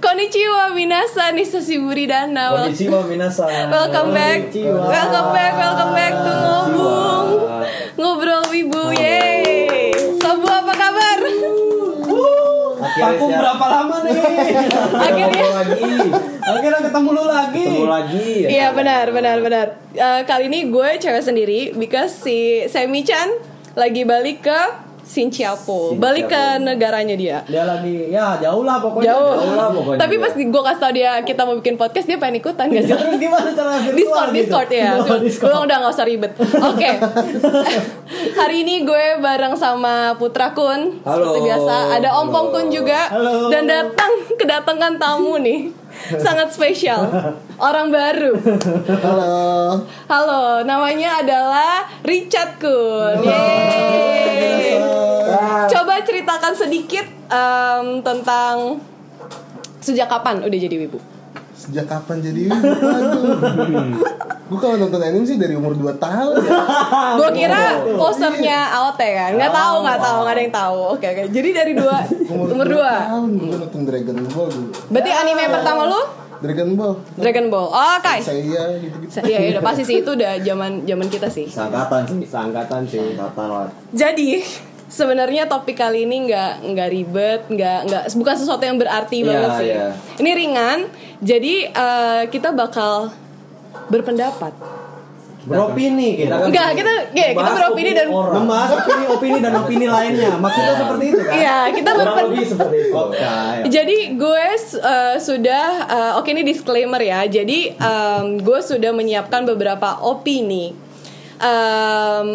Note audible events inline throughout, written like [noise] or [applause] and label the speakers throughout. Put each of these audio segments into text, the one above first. Speaker 1: Konnichiwa minasan Nisashiburi dana Wel-
Speaker 2: Konnichiwa minasan.
Speaker 1: Welcome back
Speaker 2: Konnichiwa.
Speaker 1: Welcome back Welcome back to Ngobung Ngobrol Wibu Yeay Sobu apa kabar?
Speaker 2: Akhirnya
Speaker 3: Aku
Speaker 2: siap.
Speaker 3: berapa lama nih?
Speaker 2: [laughs] Akhirnya
Speaker 1: Akhirnya
Speaker 2: ketemu lagi.
Speaker 3: Akhirnya ketemu lu lagi.
Speaker 2: Ketemu lagi.
Speaker 1: Iya benar benar benar Eh, Kali ini gue cewek sendiri Because si Semi-chan Lagi balik ke Sinchiapo Balik ke negaranya dia
Speaker 2: Dia lagi ya jauh lah pokoknya.
Speaker 1: Jauh
Speaker 2: lah pokoknya.
Speaker 1: Tapi pas gue kasih tau dia Kita mau bikin podcast Dia pengen ikutan gak sih?
Speaker 2: Terus gimana cara virtual
Speaker 1: Discord,
Speaker 2: gitu?
Speaker 1: Discord
Speaker 2: [laughs]
Speaker 1: ya.
Speaker 2: Oh, Discord.
Speaker 1: Gue udah nggak usah ribet. Oke.
Speaker 2: [laughs]
Speaker 1: Hari ini gue bareng sama Putra Kun.
Speaker 2: Halo.
Speaker 1: Seperti biasa ada Om
Speaker 2: Halo.
Speaker 1: Pongkun juga
Speaker 3: Halo.
Speaker 1: dan datang kedatangan tamu nih. Sangat spesial. Orang baru.
Speaker 4: Halo.
Speaker 1: Halo, namanya adalah Richard Kun. Yeay. Coba ceritakan sedikit em, tentang sejak kapan udah jadi wibu?
Speaker 4: Sejak kapan jadi wibu? Waduh. Gue kalau nonton anime sih dari umur 2 tahun ya.
Speaker 1: gue kira posternya Aote kan nggak tahu nggak tahu nggak ada yang tahu oke oke jadi dari dua umur
Speaker 4: dua
Speaker 1: dua
Speaker 4: tahun gue nonton Dragon Ball dulu.
Speaker 1: berarti anime pertama lu
Speaker 4: Dragon Ball.
Speaker 1: Dragon Ball oke
Speaker 4: Saya gitu-gitu.
Speaker 1: Iya, iya, udah pasti sih itu udah zaman zaman kita sih.
Speaker 2: Seangkatan sih, seangkatan sih, seangkatan lah.
Speaker 1: Jadi sebenarnya topik kali ini nggak nggak ribet, nggak nggak bukan sesuatu yang berarti
Speaker 2: Iya,
Speaker 1: banget sih.
Speaker 2: iya.
Speaker 1: Ini ringan. Jadi eh, kita bakal berpendapat.
Speaker 3: Beropini kita kan.
Speaker 1: Enggak, kita ya, kita
Speaker 2: Membahas
Speaker 1: beropini dan
Speaker 2: orang.
Speaker 3: Membahas opini-opini dan opini lainnya. Maksudnya seperti itu kan?
Speaker 1: iya, kita
Speaker 2: Kurang
Speaker 1: berpen,
Speaker 2: lebih seperti itu.
Speaker 3: Oke.
Speaker 2: Iya.
Speaker 1: Jadi gue eh, sudah eh, oke ini disclaimer ya. Jadi em, gue sudah menyiapkan beberapa opini em,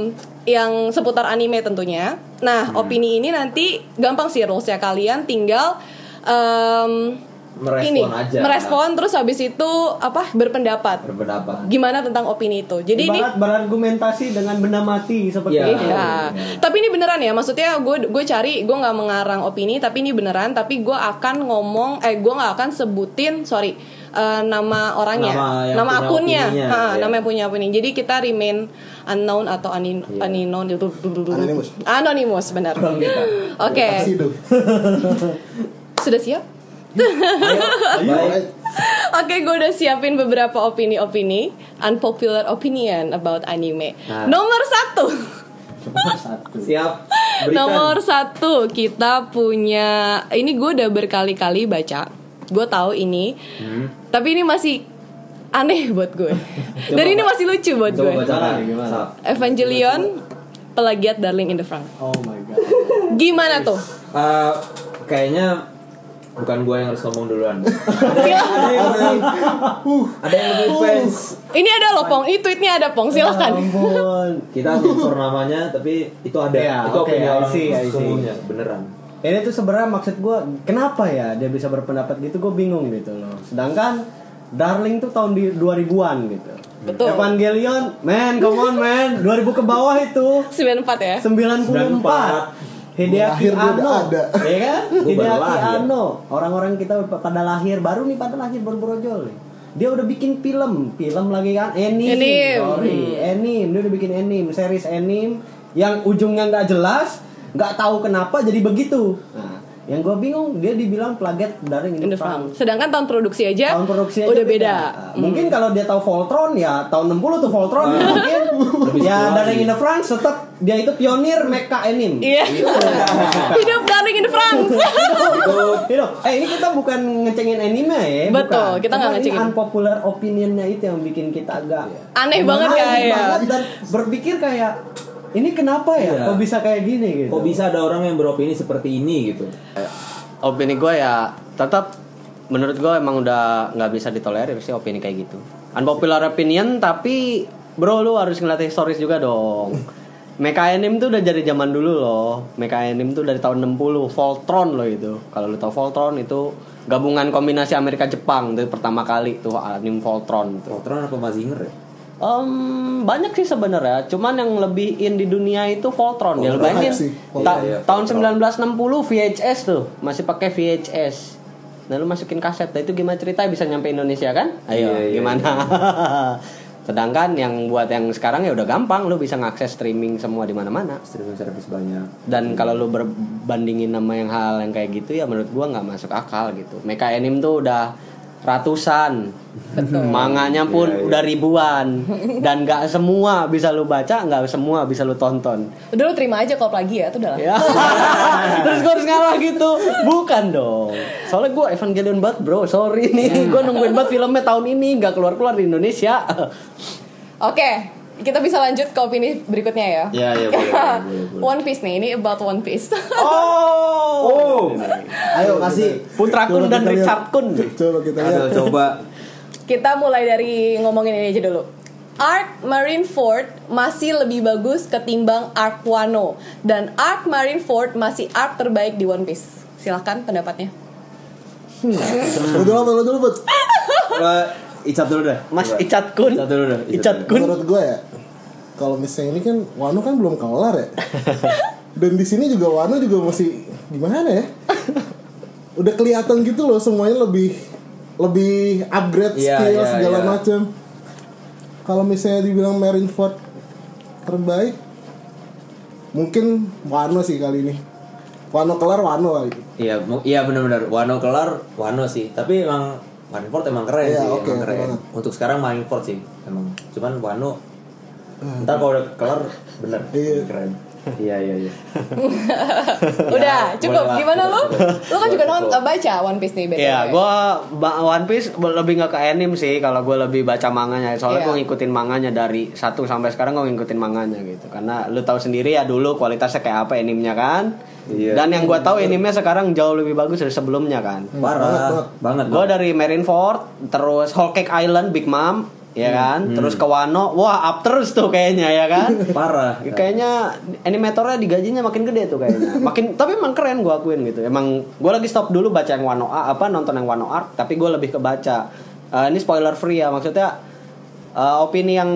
Speaker 1: yang seputar anime tentunya. Nah
Speaker 2: Hmm.
Speaker 1: opini ini nanti gampang sih rulesnya kalian tinggal em,
Speaker 2: Merespon
Speaker 1: ini
Speaker 2: aja.
Speaker 1: merespon terus habis itu apa berpendapat
Speaker 2: Berpendapat.
Speaker 1: gimana tentang opini itu. Jadi ini
Speaker 3: Ibarat berargumentasi dengan benda mati seperti
Speaker 2: Iya.
Speaker 3: itu.
Speaker 1: Iya. Tapi ini beneran ya, maksudnya gue gue cari gue nggak mengarang opini, tapi ini beneran. Tapi gue akan ngomong, eh gue nggak akan sebutin, sorry eh, nama orangnya,
Speaker 2: Nama yang punya
Speaker 1: akunnya,
Speaker 2: opininya,
Speaker 1: Ha,
Speaker 2: iya.
Speaker 1: nama yang punya opini. Jadi kita remain unknown atau anin,
Speaker 2: Iya.
Speaker 1: unknown itu
Speaker 4: Anonymous.
Speaker 1: anonymous benar. Oke,
Speaker 4: Pasti itu.
Speaker 1: sudah siap? [laughs]
Speaker 2: Baik.
Speaker 1: Oke, gue udah siapin beberapa opini-opini, unpopular opinion about anime.
Speaker 2: Nah.
Speaker 1: Nomor satu.
Speaker 2: Siap. Berikan.
Speaker 1: Nomor satu kita punya ini gue udah berkali-kali baca, gue tahu ini,
Speaker 2: Hmm.
Speaker 1: tapi ini masih aneh [laughs] buat gue. Dan ini masih lucu buat
Speaker 2: Coba
Speaker 1: gue.
Speaker 2: bacakan.
Speaker 3: Gimana, gimana?
Speaker 2: Sap.
Speaker 1: Evangelion, pelagiat Darling in the Frank.
Speaker 3: Oh my god.
Speaker 1: Gimana tuh?
Speaker 2: Eh, kayaknya bukan gue yang harus ngomong duluan.
Speaker 1: Silakan.
Speaker 2: ada yang lebih, ada yang lebih fans.
Speaker 1: Ini ada loh pong, ini tweetnya ada pong,
Speaker 3: Ya
Speaker 1: silahkan.
Speaker 3: ampun.
Speaker 2: Kita
Speaker 3: [laughs]
Speaker 2: sensor namanya, tapi itu ada.
Speaker 3: Iya,
Speaker 2: itu
Speaker 3: oke, I
Speaker 2: opini orang
Speaker 3: see, I see.
Speaker 2: sesungguhnya, beneran.
Speaker 3: Ini tuh sebenarnya maksud gue kenapa ya dia bisa berpendapat gitu gue bingung gitu loh. Sedangkan Darling tuh tahun di 2000-an gitu.
Speaker 1: Betul.
Speaker 3: Evangelion, man, come on man, 2000 ke bawah itu.
Speaker 1: 94 ya.
Speaker 3: 94 Hideaki
Speaker 4: Lahir gua udah
Speaker 3: Anno
Speaker 4: ada.
Speaker 3: [laughs] ya kan
Speaker 2: Gua baru
Speaker 3: Hideaki
Speaker 2: lahir.
Speaker 3: Anno orang-orang kita pada lahir baru nih pada lahir baru brojol nih dia udah bikin film film lagi kan anime
Speaker 1: Anime.
Speaker 3: sorry anime dia udah bikin anime series anime yang ujungnya nggak jelas nggak tahu kenapa jadi begitu nah, yang gue bingung dia dibilang plagiat dari
Speaker 1: In the
Speaker 3: Indofang
Speaker 1: Frank. Sedangkan tahun produksi aja,
Speaker 3: tahun produksi aja
Speaker 1: Ya, udah beda. Hmm.
Speaker 3: Nah, Mungkin kalau dia tahu Voltron ya tahun 60 tuh Voltron ya, mungkin ya
Speaker 2: sepuluh
Speaker 3: dari
Speaker 2: lagi.
Speaker 3: In the France tetap dia itu pionir mecha anime.
Speaker 1: Iya. [laughs] Hidup Darling in the Frank.
Speaker 3: You know, eh ini kita bukan ngecengin anime ya.
Speaker 1: Betul,
Speaker 3: bukan. Cuman
Speaker 1: kita nggak
Speaker 3: ini
Speaker 1: ngecengin.
Speaker 3: unpopular opinionnya itu yang bikin kita agak
Speaker 1: Aneh
Speaker 3: emang
Speaker 1: banget ya.
Speaker 3: aneh
Speaker 1: kayak.
Speaker 3: banget dan berpikir kayak ini kenapa ya?
Speaker 2: Iya.
Speaker 3: Kok bisa kayak gini gitu?
Speaker 2: Kok bisa ada orang yang beropini seperti ini gitu?
Speaker 5: opini gue ya tetap menurut gue emang udah nggak bisa ditolerir sih opini kayak gitu unpopular opinion tapi bro lu harus ngeliat historis juga dong Mecha anime tuh udah dari zaman dulu loh Mecha anime tuh dari tahun 60 Voltron loh itu Kalau lu tau Voltron itu Gabungan kombinasi Amerika Jepang Itu pertama kali tuh anime Voltron tuh.
Speaker 2: Voltron apa Mazinger ya?
Speaker 5: Em, banyak sih sebenarnya, cuman yang lebih in di dunia itu Voltron. ya lu
Speaker 4: Voltron
Speaker 5: bayangin.
Speaker 4: sih,
Speaker 5: ta-
Speaker 2: Iya, iya,
Speaker 5: tahun
Speaker 2: Voltron.
Speaker 5: 1960 VHS tuh, masih pakai VHS. Nah, lu masukin kaset. Nah, itu gimana cerita bisa nyampe Indonesia kan? Ayo,
Speaker 2: Iya, iya,
Speaker 5: gimana? [laughs] Sedangkan yang buat yang sekarang ya udah gampang, lu bisa ngakses streaming semua di mana-mana.
Speaker 2: streaming service banyak
Speaker 5: Dan kalau lu berbandingin sama yang hal yang kayak gitu ya menurut gua nggak masuk akal gitu. Mecha anime tuh udah ratusan, manganya pun
Speaker 2: Iya, iya.
Speaker 5: udah ribuan dan nggak semua bisa lu baca, nggak semua bisa lu tonton.
Speaker 1: [laughs] Udah lu terima aja kalau lagi ya, itu udah lah.
Speaker 5: Ya. Terus gue harus ngalah gitu. Bukan dong. Soalnya gue Evangelion banget bro. Sorry nih. Gue nungguin banget filmnya tahun ini. Gak keluar-keluar di Indonesia.
Speaker 1: Oke, kita bisa lanjut ke opini berikutnya ya.
Speaker 2: Iya, iya, boleh, boleh, boleh, boleh.
Speaker 1: [laughs] One Piece nih, ini about One Piece. [laughs]
Speaker 5: Oh.
Speaker 2: oh
Speaker 3: Ayo kasih
Speaker 5: Putra Kun
Speaker 4: Coba
Speaker 5: dan
Speaker 4: kita lihat.
Speaker 5: Richard Kun.
Speaker 4: Coba kita lihat.
Speaker 2: Aduh, coba
Speaker 1: kita mulai dari ngomongin ini aja dulu. Arc Marineford masih lebih bagus ketimbang Arc Wano dan Arc Marineford masih arc terbaik di One Piece. Silahkan
Speaker 2: [laughs]
Speaker 1: pendapatnya.
Speaker 4: Lu dulu, apa? lu dulu, Put.
Speaker 2: Eh, Icap dulu deh
Speaker 5: Mas
Speaker 2: Coba.
Speaker 5: Icat Kun.
Speaker 2: Iya. Icat dulu deh
Speaker 5: Icat Kun.
Speaker 4: Menurut gue ya, kalau misalnya ini kan Wano kan belum kelar ya. Dan di sini juga Wano juga masih gimana ya? Udah kelihatan gitu loh semuanya lebih lebih upgrade
Speaker 2: Iya,
Speaker 4: skill
Speaker 2: iya,
Speaker 4: segala
Speaker 2: iya.
Speaker 4: macam. Kalau misalnya dibilang Marineford terbaik, mungkin Wano sih kali ini. Wano kelar Wano gitu. kali.
Speaker 2: Iya, mu- iya benar-benar. Wano kelar, Wano sih. Tapi emang Marineford emang keren
Speaker 4: Iya,
Speaker 2: sih,
Speaker 4: oke,
Speaker 2: emang keren.
Speaker 4: banget.
Speaker 2: Untuk sekarang Marineford sih, emang. Cuman Wano, ntar kalau udah kelar bener,
Speaker 4: Iya.
Speaker 2: keren. Iya iya iya.
Speaker 1: Udah, cukup.
Speaker 2: Ya, [laughs] boleh Ya, lah.
Speaker 1: Gimana lu? Lu kan juga non
Speaker 2: Cukup.
Speaker 1: baca One Piece nih, BTW.
Speaker 5: Iya, gue One Piece lebih nggak ke anime sih kalau gue lebih baca manganya. Soalnya
Speaker 1: Iya.
Speaker 5: gue ngikutin manganya dari satu sampai sekarang gue ngikutin manganya gitu. Karena lu tahu sendiri ya dulu kualitasnya kayak apa animenya kan.
Speaker 2: Iya.
Speaker 5: Dan yang gue tahu animenya sekarang jauh lebih bagus dari sebelumnya kan.
Speaker 2: Parah, Hmm, banget.
Speaker 5: Gue dari Marineford, terus Whole Cake Island, Big Mom, ya kan. Terus ke Wano, wah up terus tuh kayaknya ya kan.
Speaker 2: Parah.
Speaker 5: Kayaknya animatornya digajinya makin gede tuh kayaknya. Makin tapi emang keren gue akuin gitu. Emang gue lagi stop dulu baca yang Wano A, apa nonton yang Wano Arc, tapi gue lebih kebaca. Eh ini spoiler free ya maksudnya eh, opini yang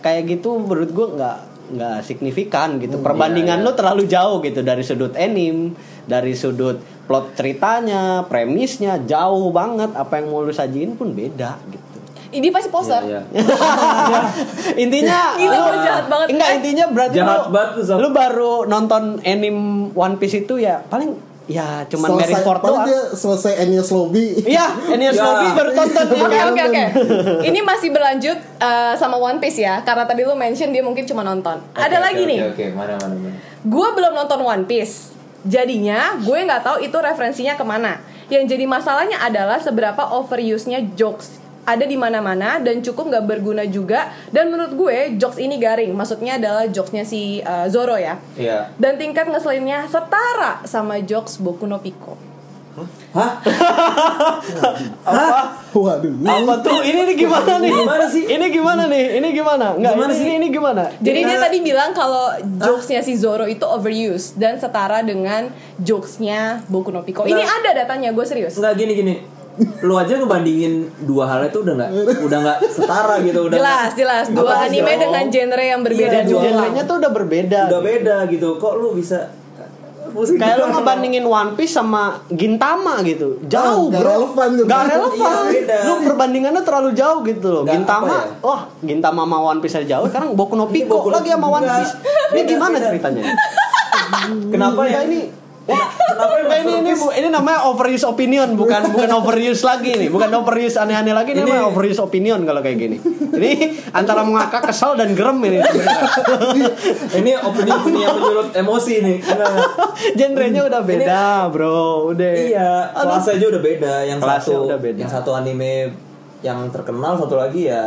Speaker 5: kayak gitu menurut gue nggak nggak signifikan gitu. Perbandingan lu terlalu jauh gitu dari sudut anime, dari sudut plot ceritanya, premisnya jauh banget. Apa yang mau lu sajiin pun beda gitu.
Speaker 1: Ini pasti poster.
Speaker 2: Iya,
Speaker 5: [laughs] intinya
Speaker 1: Gila,
Speaker 5: lu-
Speaker 1: lu jahat banget. Eh.
Speaker 5: enggak intinya berarti
Speaker 2: Jahat
Speaker 5: lu,
Speaker 2: banget tuh, Sob.
Speaker 5: lu baru nonton anime One Piece itu ya paling ya cuman
Speaker 4: Selesai-
Speaker 5: Marineford
Speaker 4: paling
Speaker 5: doang
Speaker 4: dia selesai Enies Lobby.
Speaker 5: iya Enies
Speaker 2: Ya.
Speaker 5: Lobby baru tonton
Speaker 1: [laughs] [laughs]
Speaker 5: ya
Speaker 1: Oke
Speaker 5: kan?
Speaker 1: oke
Speaker 2: [laughs]
Speaker 1: oke. Ini masih berlanjut eh, sama One Piece ya, karena tadi lu mention dia mungkin cuma nonton. Ada
Speaker 2: Oke,
Speaker 1: lagi
Speaker 2: oke,
Speaker 1: nih.
Speaker 2: Oke, oke. mana mana mana.
Speaker 1: Gue belum nonton One Piece. Jadinya gue nggak tahu itu referensinya kemana. Yang jadi masalahnya adalah seberapa overuse-nya jokes ada di mana-mana dan cukup nggak berguna juga. Dan menurut gue jokes ini garing. Maksudnya adalah jokesnya si eh, Zoro ya.
Speaker 2: Iya.
Speaker 1: Dan tingkat ngeselinnya setara sama jokes Boku no Pico.
Speaker 2: Hah?
Speaker 4: Waduh.
Speaker 5: apa tuh ini, nih gimana nih
Speaker 2: Gimana sih?
Speaker 5: ini gimana nih ini gimana enggak
Speaker 2: Gimana
Speaker 5: ini,
Speaker 2: sih?
Speaker 5: ini, ini gimana
Speaker 1: Jadi dia tadi bilang kalau jokesnya si Zoro itu overuse dan setara dengan jokesnya Boku no Pico. Ini
Speaker 2: Nah.
Speaker 1: ada datanya, gue serius.
Speaker 2: Enggak gini gini. Lu aja ngebandingin dua hal itu udah nggak udah nggak setara gitu udah nggak-
Speaker 1: Jelas, jelas. Dua
Speaker 2: Apa sih,
Speaker 1: anime
Speaker 2: Zoro?
Speaker 1: dengan genre yang berbeda
Speaker 2: Iya,
Speaker 1: dua orang.
Speaker 5: genrenya tuh udah berbeda
Speaker 2: udah
Speaker 5: gitu.
Speaker 2: beda gitu kok lu bisa pusing
Speaker 5: kayak lu ngebandingin One Piece sama Gintama gitu
Speaker 2: Oh,
Speaker 5: jauh
Speaker 4: Ah, nggak
Speaker 5: bro
Speaker 4: relevan gitu.
Speaker 5: Nggak relevan
Speaker 2: Iya, beda.
Speaker 5: lu perbandingannya terlalu jauh gitu loh
Speaker 2: Nggak,
Speaker 5: Gintama
Speaker 2: apa ya?
Speaker 5: wah Gintama sama One Piece aja jauh sekarang Boku no
Speaker 2: Ini
Speaker 5: Pico
Speaker 2: Boku no-
Speaker 5: lagi sama One
Speaker 2: Nggak.
Speaker 5: Piece ini
Speaker 2: Beda,
Speaker 5: gimana
Speaker 2: beda. [laughs]
Speaker 5: ceritanya
Speaker 2: kenapa ya
Speaker 5: Nggak, Nah, ini Wah,
Speaker 2: Kenapa ya,
Speaker 5: ini ini bu- ini namanya overuse opinion
Speaker 2: [laughs]
Speaker 5: bukan bukan overuse lagi nih bukan overuse aneh-aneh lagi
Speaker 2: Ini-
Speaker 5: ini namanya overuse opinion kalau kayak gini ini antara mengakak kesal dan gerem ini [laughs]
Speaker 2: ini opini opini yang menyulut emosi nih karena
Speaker 5: genrenya udah beda bro udah
Speaker 2: iya
Speaker 5: Aduh.
Speaker 2: kelasnya aja udah beda yang
Speaker 5: Kelasnya
Speaker 2: satu
Speaker 5: udah beda.
Speaker 2: yang satu anime yang terkenal satu lagi ya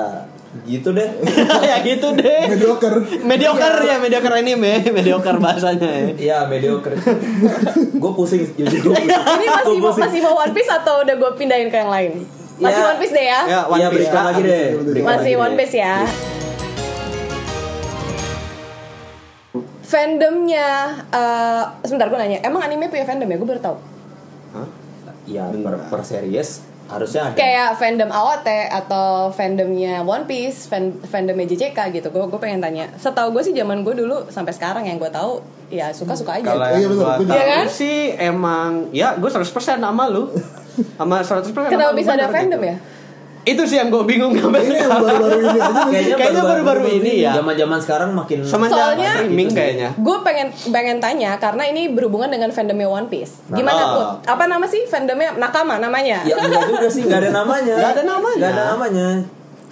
Speaker 2: gitu deh
Speaker 5: [laughs] ya gitu deh
Speaker 4: Mediocre.
Speaker 5: mediocre ya mediocre anime mediocre bahasanya ya.
Speaker 2: Iya
Speaker 5: [laughs]
Speaker 2: mediocre gue pusing jujur gue
Speaker 1: Iya, Ini masih mau, masih mau One Piece atau udah gue pindahin ke yang lain? Masih
Speaker 2: Ya.
Speaker 1: One Piece deh ya.
Speaker 5: Ya, One
Speaker 2: Iya
Speaker 5: Piece.
Speaker 2: berikan
Speaker 5: Ah,
Speaker 2: lagi deh berikan
Speaker 1: Masih
Speaker 2: lagi deh.
Speaker 1: One Piece ya. Fandomnya eh, sebentar gue nanya, emang anime punya fandom ya? Gue baru tahu.
Speaker 5: Hah?
Speaker 2: Iya per, per series harusnya ada
Speaker 1: Kayak fandom AOT atau fandomnya One Piece, fan, fandomnya JJK gitu. Gue gue pengen tanya. Setahu gue sih zaman gue dulu sampai sekarang yang gue tahu ya suka-suka aja.
Speaker 5: Kalau
Speaker 4: Iya,
Speaker 5: yang
Speaker 4: betul,
Speaker 5: gua
Speaker 4: betul.
Speaker 5: tahu
Speaker 1: Iya kan?
Speaker 5: sih emang ya gue 100% sama lu. Sama 100% sama
Speaker 1: Kenapa
Speaker 5: lu,
Speaker 1: bisa ada
Speaker 5: bener
Speaker 1: fandom
Speaker 5: gitu.
Speaker 1: ya? Iya.
Speaker 5: itu sih yang gue bingung sampai
Speaker 4: Ini yang
Speaker 5: sekarang.
Speaker 4: baru-baru ini aja nih.
Speaker 5: Kayaknya baru-baru ini ya.
Speaker 2: Zaman-zaman sekarang makin
Speaker 5: Semenjak
Speaker 1: Soalnya-
Speaker 5: streaming kayaknya.
Speaker 1: Gue pengen pengen tanya karena ini berhubungan dengan fandomnya One Piece. Gimana
Speaker 5: Ah.
Speaker 1: Put? Apa nama sih fandomnya Nakama namanya?
Speaker 2: Ya enggak juga sih, enggak ada namanya.
Speaker 5: Nggak ada namanya.
Speaker 2: Enggak ada namanya.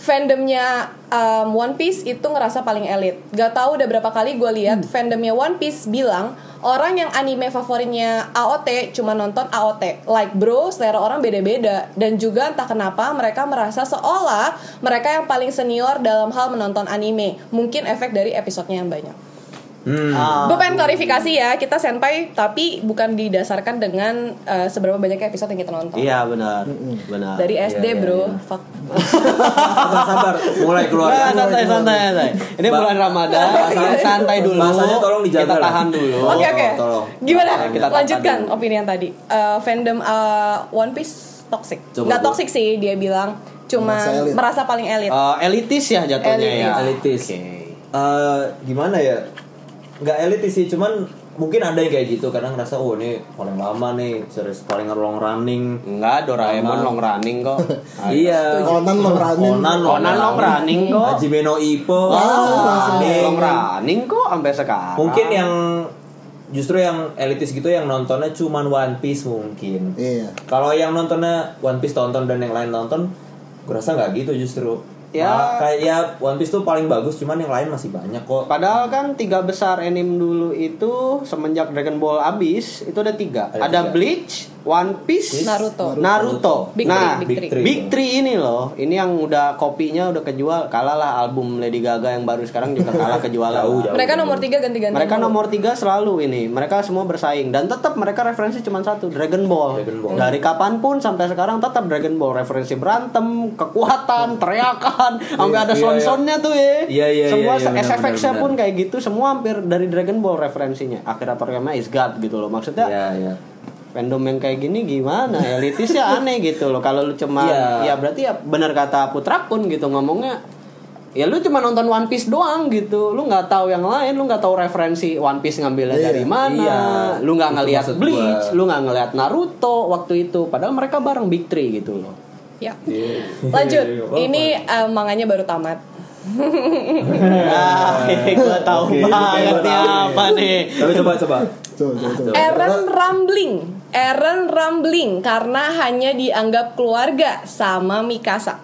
Speaker 1: fandomnya um, One Piece itu ngerasa paling elit. Gak tahu udah berapa kali gue lihat fandomnya One Piece bilang orang yang anime favoritnya AOT cuma nonton AOT. Like bro, selera orang beda-beda dan juga entah kenapa mereka merasa seolah mereka yang paling senior dalam hal menonton anime. Mungkin efek dari episodenya yang banyak.
Speaker 2: Hmm.
Speaker 5: Ah,
Speaker 1: Gue pengen klarifikasi ya, kita senpai tapi bukan didasarkan dengan uh, seberapa banyak episode yang kita nonton.
Speaker 5: Iya benar, benar.
Speaker 1: Dari SD
Speaker 5: Iya, iya,
Speaker 1: bro,
Speaker 5: iya.
Speaker 1: fuck.
Speaker 2: Sabar, sabar. Mulai Iya, keluar.
Speaker 5: Nah, santai, santai, santai. Ini
Speaker 2: Ba-
Speaker 5: bulan Ramadan, santai, santai dulu.
Speaker 2: Bahasanya tolong dijaga
Speaker 5: Kita
Speaker 2: lah.
Speaker 5: tahan dulu.
Speaker 1: Oke oke.
Speaker 2: tolong.
Speaker 1: Gimana?
Speaker 5: Tolong, kita
Speaker 1: Lanjutkan
Speaker 5: tata dulu.
Speaker 1: opini yang tadi. Eh, fandom eh, One Piece toxic.
Speaker 2: Coba
Speaker 1: Nggak
Speaker 2: gua-
Speaker 1: toxic sih dia bilang. Cuma
Speaker 4: Merasa elit.
Speaker 1: merasa, paling elit.
Speaker 5: Eh, elitis ya jatuhnya
Speaker 1: Elitis.
Speaker 5: ya.
Speaker 2: Iya, Elitis.
Speaker 5: Oke.
Speaker 2: Eh, gimana ya? Enggak elitis sih, cuman mungkin ada yang kayak gitu kadang ngerasa oh ini paling lama nih series paling long running
Speaker 5: Enggak, Doraemon
Speaker 2: Lama.
Speaker 5: long running kok.
Speaker 2: iya
Speaker 4: Conan long running.
Speaker 2: Conan
Speaker 5: Conan long running kok.
Speaker 2: Hajime no Ippo
Speaker 5: Wah,
Speaker 2: Ning.
Speaker 5: long running kok sampai sekarang.
Speaker 2: mungkin ya. yang justru yang elitis gitu yang nontonnya cuman One Piece mungkin
Speaker 4: Iya.
Speaker 2: kalau yang nontonnya One Piece tonton dan yang lain nonton gue rasa nggak gitu justru
Speaker 5: Ya.
Speaker 2: Malah kayak ya One Piece tuh paling bagus cuman yang lain masih banyak kok
Speaker 5: Padahal kan tiga besar anime dulu itu semenjak Dragon Ball abis itu ada tiga.
Speaker 2: Ada
Speaker 5: Ada,
Speaker 2: tiga.
Speaker 5: Bleach, One Piece,
Speaker 1: Naruto.
Speaker 5: Naruto.
Speaker 1: Big
Speaker 5: nah,
Speaker 1: Three,
Speaker 5: Big,
Speaker 1: Big
Speaker 2: Big
Speaker 1: Three.
Speaker 5: Three. ini loh, ini yang udah kopinya udah kejual. Kalah lah album Lady Gaga yang baru sekarang juga kalah kejualan.
Speaker 2: Jauh, jauh.
Speaker 1: Mereka nomor tiga ganti-ganti.
Speaker 5: Mereka nomor tiga selalu ini. Mereka semua bersaing dan tetap mereka referensi cuma satu, Dragon Ball.
Speaker 2: Dragon Ball.
Speaker 5: Dari kapanpun sampai sekarang tetap Dragon Ball referensi berantem, kekuatan,
Speaker 2: [laughs]
Speaker 5: teriakan, sampai
Speaker 2: Hmm. Iya,
Speaker 5: ada
Speaker 2: iya,
Speaker 5: sound-soundnya tuh ya.
Speaker 2: Iya, iya,
Speaker 5: semua
Speaker 2: iya, iya, benar,
Speaker 5: SFX-nya
Speaker 2: benar,
Speaker 5: pun kayak gitu, semua hampir dari Dragon Ball referensinya. Akiratoriyama is God gitu loh. Maksudnya
Speaker 2: Iya, iya.
Speaker 5: fandom yang kayak gini gimana elitisnya aneh gitu loh kalau lu cuma
Speaker 2: Iya.
Speaker 5: ya berarti ya benar kata Putra pun gitu ngomongnya ya lu cuma nonton One Piece doang gitu lu nggak tahu yang lain lu nggak tahu referensi One Piece ngambilnya
Speaker 4: Iya.
Speaker 5: dari mana
Speaker 2: Iya.
Speaker 5: lu nggak
Speaker 2: Itu
Speaker 5: ngelihat
Speaker 2: maksud
Speaker 5: Bleach
Speaker 2: gua.
Speaker 5: lu nggak ngelihat Naruto waktu itu padahal mereka bareng Big Three gitu loh
Speaker 1: Ya. Lanjut.
Speaker 2: Iya,
Speaker 1: Ini eh, manganya baru tamat.
Speaker 5: [laughs] ah gue tahu
Speaker 2: Iya. Oke,
Speaker 5: banget
Speaker 2: oke,
Speaker 5: nih
Speaker 2: oke.
Speaker 5: apa nih
Speaker 2: tapi coba coba
Speaker 4: Coba,
Speaker 1: Ah,
Speaker 4: coba, coba.
Speaker 1: Eren rambling. Eren rambling karena hanya dianggap keluarga sama Mikasa.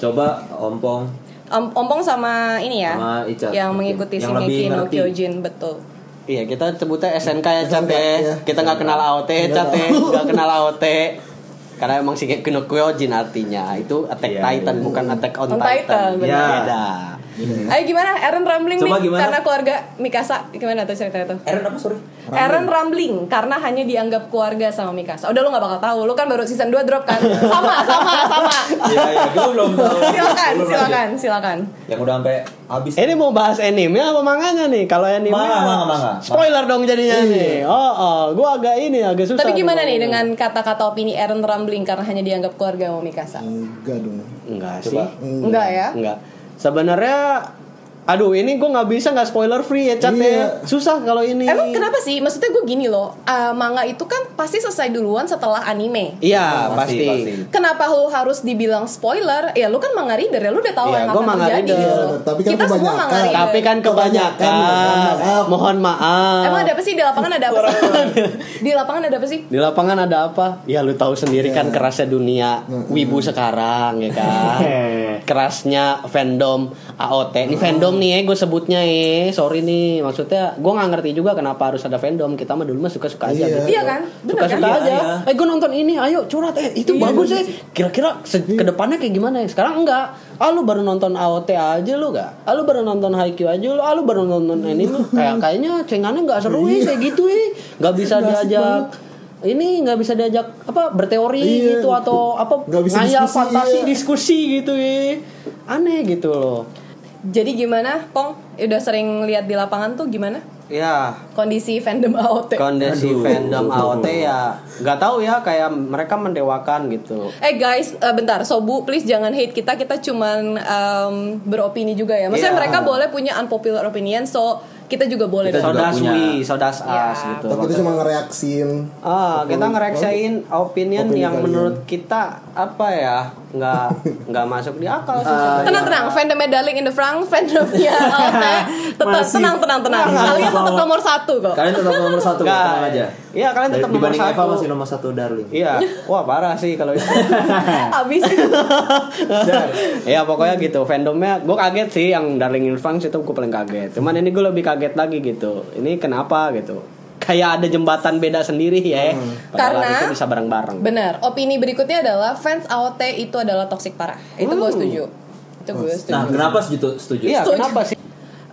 Speaker 2: coba ompong
Speaker 1: Om- Ompong sama ini ya.
Speaker 2: Sama Ica.
Speaker 1: yang
Speaker 2: Mungkin.
Speaker 1: mengikuti
Speaker 2: Yang lebih
Speaker 1: Shingeki no
Speaker 2: ngerti.
Speaker 1: Kyojin betul.
Speaker 5: Iya kita sebutnya SNK ya Cat
Speaker 4: SNK,
Speaker 5: ya.
Speaker 4: iya.
Speaker 5: Kita nggak kenal AOT Cat ya. Nggak kenal AOT Karena emang si Kino Kyojin artinya Itu Attack
Speaker 2: Iya,
Speaker 5: Titan bukan Attack on,
Speaker 1: On
Speaker 5: Titan,
Speaker 1: Titan, benar.
Speaker 5: Iya.
Speaker 2: Ya.
Speaker 5: Beda
Speaker 1: Ayo gimana Eren rambling
Speaker 2: Coba
Speaker 1: nih
Speaker 2: gimana?
Speaker 1: karena keluarga Mikasa gimana tuh ceritanya tuh?
Speaker 2: Eren apa sorry
Speaker 1: Eren rambling karena hanya dianggap keluarga sama Mikasa. Udah lu nggak bakal tahu, lu kan baru season 2 drop kan. sama, sama, sama.
Speaker 2: Iya, iya, gue belum tahu.
Speaker 1: [laughs] Silakan,
Speaker 2: Belum
Speaker 1: silakan,
Speaker 2: lanjut.
Speaker 1: silakan.
Speaker 2: Yang udah sampai habis.
Speaker 5: Ini mau bahas anime apa manganya nih? Kalau anime
Speaker 2: Manga, manga, manga.
Speaker 5: Spoiler dong jadinya nih Oh, oh. Gue agak ini agak susah
Speaker 1: Tapi gimana nih
Speaker 5: ngomongnya.
Speaker 1: dengan kata-kata opini Aaron rambling karena hanya dianggap keluarga sama Mikasa?
Speaker 4: Enggak dong.
Speaker 5: Enggak sih
Speaker 2: Coba.
Speaker 1: Enggak ya?
Speaker 5: Enggak Sebenarnya Aduh ini gue nggak bisa nggak spoiler free ya Cat ya.
Speaker 4: Iya.
Speaker 5: Susah kalau ini
Speaker 1: Emang kenapa sih? Maksudnya gue gini loh, eh, manga itu kan pasti selesai duluan setelah anime.
Speaker 5: Iya pasti,
Speaker 1: Kenapa lu harus dibilang spoiler? Ya lu kan manga reader ya, lu udah tahu
Speaker 5: Iya,
Speaker 1: yang
Speaker 5: gua
Speaker 1: akan
Speaker 5: manga
Speaker 1: terjadi.
Speaker 5: reader.
Speaker 1: gitu.
Speaker 4: Iya, tapi kan
Speaker 1: Kita semua
Speaker 4: kebanyakan.
Speaker 1: manga reader.
Speaker 5: Tapi kan kebanyakan
Speaker 4: Kebanyakan, maaf.
Speaker 5: Mohon maaf
Speaker 1: Emang ada apa sih di lapangan ada apa sih? di lapangan ada apa sih?
Speaker 5: Di lapangan ada apa? Ya lu tahu sendiri kan kerasnya dunia wibu sekarang ya [laughs] kan. Kerasnya fandom AOT. Ini fandom nih ya gue sebutnya ya. Sorry nih maksudnya gue nggak ngerti juga kenapa harus ada fandom. Kita mah dulu mah suka-suka aja.
Speaker 4: Iya.
Speaker 5: gitu.
Speaker 1: Iya kan? Benar kan?
Speaker 5: Suka-suka
Speaker 2: Iya,
Speaker 5: aja.
Speaker 2: iya.
Speaker 5: Eh gue nonton ini, ayo curhat. Eh itu
Speaker 4: Iya,
Speaker 5: bagus ya. Kira-kira se- kedepannya kayak gimana ya? Sekarang enggak. Ah lu baru nonton AOT aja lu gak? Ah lu baru nonton Haikyuu aja lu? Ah lu baru nonton ini
Speaker 4: [laughs]
Speaker 5: lu? Kayak kayaknya cengannya nggak seru
Speaker 4: Iya.
Speaker 5: ya kayak gitu ya. Nggak bisa diajak ini nggak bisa diajak apa berteori
Speaker 4: Iya.
Speaker 5: gitu atau apa
Speaker 4: Nggak bisa
Speaker 5: ngayal
Speaker 4: diskusi,
Speaker 5: fantasi
Speaker 4: iya.
Speaker 5: diskusi gitu ya aneh gitu loh
Speaker 1: Jadi gimana, Pong? Udah sering lihat di lapangan tuh gimana?
Speaker 5: ya
Speaker 1: Kondisi fandom AOT.
Speaker 5: kondisi
Speaker 2: Aduh.
Speaker 5: fandom AOT ya nggak tahu ya kayak mereka mendewakan gitu
Speaker 1: eh guys, eh, bentar, Sobu please jangan hate kita. Kita cuman em, beropini juga ya. Maksudnya
Speaker 5: Iya.
Speaker 1: mereka boleh punya unpopular opinion, so kita juga boleh
Speaker 2: Kita
Speaker 1: dong.
Speaker 2: juga
Speaker 5: sodas
Speaker 2: punya.
Speaker 5: we, sodas
Speaker 1: Ya.
Speaker 5: us gitu.
Speaker 4: Tapi itu cuma ngereaksin
Speaker 5: Ah, kita ngereksain opinion,
Speaker 4: opini
Speaker 5: yang
Speaker 4: kalian.
Speaker 5: menurut kita apa ya nggak
Speaker 2: [laughs]
Speaker 5: nggak masuk di akal sih.
Speaker 2: Ah,
Speaker 5: sebenarnya.
Speaker 1: tenang tenang fandomnya darling in the frank ya, fandomnya LT tetap
Speaker 4: Masih.
Speaker 1: tenang tenang tenang kalian tetap nomor satu kok
Speaker 2: Kalian tetap nomor satu,
Speaker 5: Nggak.
Speaker 2: tenang aja.
Speaker 5: Iya, kalian tetap nomor
Speaker 2: Dibanding Eva
Speaker 5: satu.
Speaker 2: masih nomor satu Darling.
Speaker 5: Iya, wah parah sih kalau
Speaker 2: [laughs]
Speaker 5: itu.
Speaker 1: [laughs] habis
Speaker 5: Iya pokoknya gitu fandomnya gue kaget sih yang Darling in Franks itu gue paling kaget. Cuman ini gue lebih kaget lagi gitu. Ini kenapa gitu? Kayak ada jembatan beda sendiri ya.
Speaker 2: Hmm.
Speaker 5: Padahal
Speaker 1: Karena-
Speaker 5: itu bisa bareng-bareng.
Speaker 1: benar opini berikutnya adalah fans AOT itu adalah toxic parah itu gue setuju itu gue setuju
Speaker 2: Nah, kenapa setuju? setuju?
Speaker 5: Iya
Speaker 1: Setuju.
Speaker 5: kenapa sih?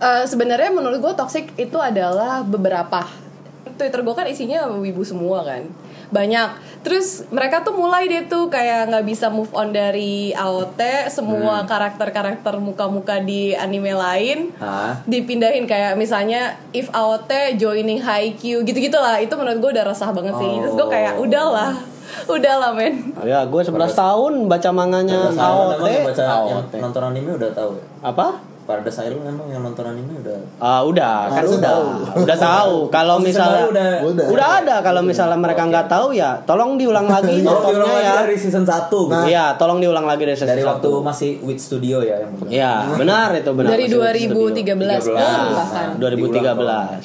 Speaker 1: Eh, sebenarnya menurut gue toxic itu adalah beberapa Twitter gue kan isinya wibu semua kan banyak terus mereka tuh mulai deh tuh kayak nggak bisa move on dari AOT semua karakter-karakter muka-muka di anime lain
Speaker 2: Hah?
Speaker 1: dipindahin kayak misalnya if AOT joining Haikyuu gitu-gitulah itu menurut gue udah resah banget sih terus gue kayak udahlah udahlah men
Speaker 5: Ya gue 11 tahun baca manganya AOT.
Speaker 2: Emang yang baca yang
Speaker 5: AOT.
Speaker 2: nonton anime udah tahu. ya?
Speaker 5: Apa?
Speaker 2: Paradise Island emang yang nonton anime udah
Speaker 5: Ah udah, kan
Speaker 4: Harusnya
Speaker 5: udah,
Speaker 4: tahu.
Speaker 5: udah tahu. Kalau
Speaker 2: Season
Speaker 5: misalnya
Speaker 2: baru udah-
Speaker 5: udah, ada, kalau misalnya mereka nggak tahu ya, tolong
Speaker 2: [laughs]
Speaker 5: diulang lagi
Speaker 2: Tolong
Speaker 5: nontonnya
Speaker 2: diulang lagi
Speaker 5: ya.
Speaker 2: dari season 1
Speaker 4: Nah.
Speaker 5: Iya, tolong diulang lagi dari season
Speaker 2: Dari waktu
Speaker 5: satu.
Speaker 2: masih Wit Studio ya yang bener.
Speaker 5: Iya, benar itu benar.
Speaker 1: dari
Speaker 5: Masih
Speaker 1: 2013 pun bahkan
Speaker 2: Nah,
Speaker 5: 2013.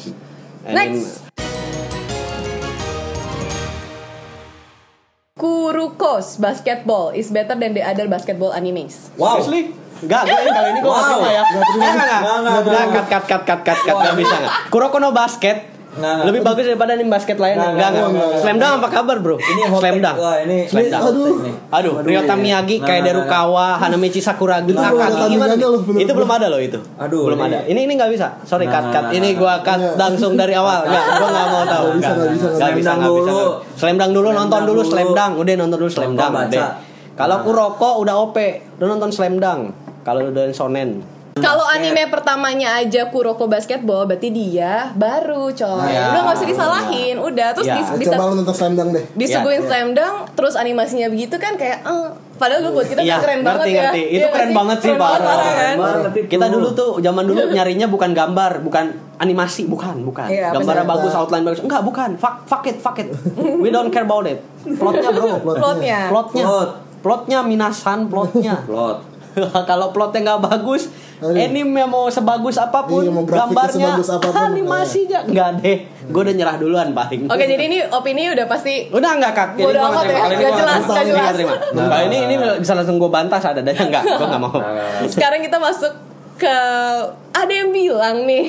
Speaker 5: Anime-
Speaker 1: Next. Kurukos basketball is better than the other basketball animes.
Speaker 2: Wow.
Speaker 5: Seriously? Enggak, gue kali ini gue
Speaker 2: Wow.
Speaker 5: nggak terima ya.
Speaker 2: Nggak terima.
Speaker 5: Enggak, enggak,
Speaker 2: Nggak,
Speaker 5: enggak.
Speaker 2: nggak,
Speaker 5: Enggak,
Speaker 2: nggak.
Speaker 5: cut, cut, cut, cut, cut, cut, nggak bisa nggak. Kuroko no basket.
Speaker 2: Nggak, nggak.
Speaker 5: Lebih bagus daripada anime basket
Speaker 2: Nggak,
Speaker 5: lainnya.
Speaker 2: nggak,
Speaker 5: Enggak, enggak.
Speaker 2: nggak, nggak.
Speaker 5: Slam Dunk apa kabar, Bro?
Speaker 2: Ini hot
Speaker 5: Slam
Speaker 2: take.
Speaker 5: Dunk.
Speaker 2: Wah, ini
Speaker 5: Slam Dunk.
Speaker 2: hot take nih.
Speaker 5: Aduh, Ryota Miyagi,
Speaker 2: Nah,
Speaker 5: Kaede
Speaker 2: nah, nah.
Speaker 5: Rukawa, Hanamichi Sakuragi,
Speaker 4: Itu belum ada
Speaker 5: Akagi gimana?
Speaker 4: tandingannya loh, bener-bener.
Speaker 5: Itu belum ada loh itu.
Speaker 2: Aduh,
Speaker 5: belum
Speaker 2: ini-
Speaker 5: ada. Ini ini nggak bisa. Sorry,
Speaker 2: Nah,
Speaker 5: cut
Speaker 2: nah,
Speaker 5: cut.
Speaker 2: nah,
Speaker 5: Ini
Speaker 2: nah.
Speaker 5: gua cut langsung dari awal. Enggak, gua nggak mau tahu.
Speaker 4: Nggak bisa, nggak bisa, nggak
Speaker 5: Nggak
Speaker 2: bisa.
Speaker 5: bisa,
Speaker 2: Slam
Speaker 5: nggak
Speaker 2: Dunk
Speaker 5: bisa.
Speaker 2: dulu.
Speaker 5: Slam Dunk dulu,
Speaker 2: Slam
Speaker 5: nonton
Speaker 2: Dunk
Speaker 5: dulu
Speaker 2: dulu.
Speaker 5: Slam Dunk. Udah nonton dulu Slam
Speaker 2: Kuroko
Speaker 5: Dunk.
Speaker 2: baca.
Speaker 5: deh. Kalau
Speaker 2: Nah.
Speaker 5: Kuroko udah OP, udah nonton Slam Dunk. Kalau udah shonen.
Speaker 1: Kalau anime pertamanya aja Kuroko basketball, berarti dia baru coy.
Speaker 5: Ya.
Speaker 1: Udah nggak bisa disalahin, udah terus
Speaker 5: Ya.
Speaker 1: dis-
Speaker 4: Nah,
Speaker 1: bisa
Speaker 4: Coba lu nonton Slam Dunk deh
Speaker 1: disuguhin
Speaker 5: Ya.
Speaker 1: slam dunk, terus animasinya begitu kan kayak, eh, padahal dulu buat kita kan
Speaker 5: Iya,
Speaker 1: keren
Speaker 5: ngerti,
Speaker 1: banget
Speaker 5: ngerti.
Speaker 1: ya.
Speaker 5: Itu
Speaker 1: Iya
Speaker 5: keren
Speaker 1: nggak
Speaker 5: banget sih,
Speaker 1: Keren banget,
Speaker 5: parah.
Speaker 1: parah kan?
Speaker 2: Keren banget itu.
Speaker 5: Kita dulu tuh zaman dulu nyarinya bukan gambar, bukan animasi, bukan, bukan.
Speaker 1: Iya,
Speaker 5: Gambarnya
Speaker 4: bener.
Speaker 5: bagus, outline bagus. Enggak, bukan. Fuck, fuck it, fuck it. We don't care about it. Plotnya, Bro.
Speaker 1: Plotnya.
Speaker 5: Plotnya.
Speaker 2: Plot.
Speaker 5: Iya. Plotnya minasan
Speaker 4: [laughs]
Speaker 5: plotnya. [laughs]
Speaker 2: Plot.
Speaker 5: Kalau plotnya nggak bagus,
Speaker 4: Aduh.
Speaker 5: anime mau sebagus apapun,
Speaker 4: Oh, Iya, mau grafiknya
Speaker 5: gambarnya,
Speaker 4: sebagus
Speaker 5: [laughs]
Speaker 4: apapun. iya.
Speaker 5: animasinya nggak deh. Gue udah nyerah duluan paling.
Speaker 1: Oke, jadi ini opini udah pasti
Speaker 5: [laughs] Udah nggak kak? Jadi
Speaker 1: Bodo
Speaker 5: gua
Speaker 1: amat
Speaker 5: terima.
Speaker 1: ya,
Speaker 5: Kali ini
Speaker 1: nggak
Speaker 5: gua
Speaker 1: jelas,
Speaker 5: terima.
Speaker 1: nggak
Speaker 5: Ini gua
Speaker 1: jelas.
Speaker 5: terima.
Speaker 2: Nah.
Speaker 5: Kali ini ini bisa langsung gue bantah sadadanya nggak? Gue nggak mau. [laughs]
Speaker 4: Nah, kan?
Speaker 1: sekarang kita masuk ke ada yang bilang nih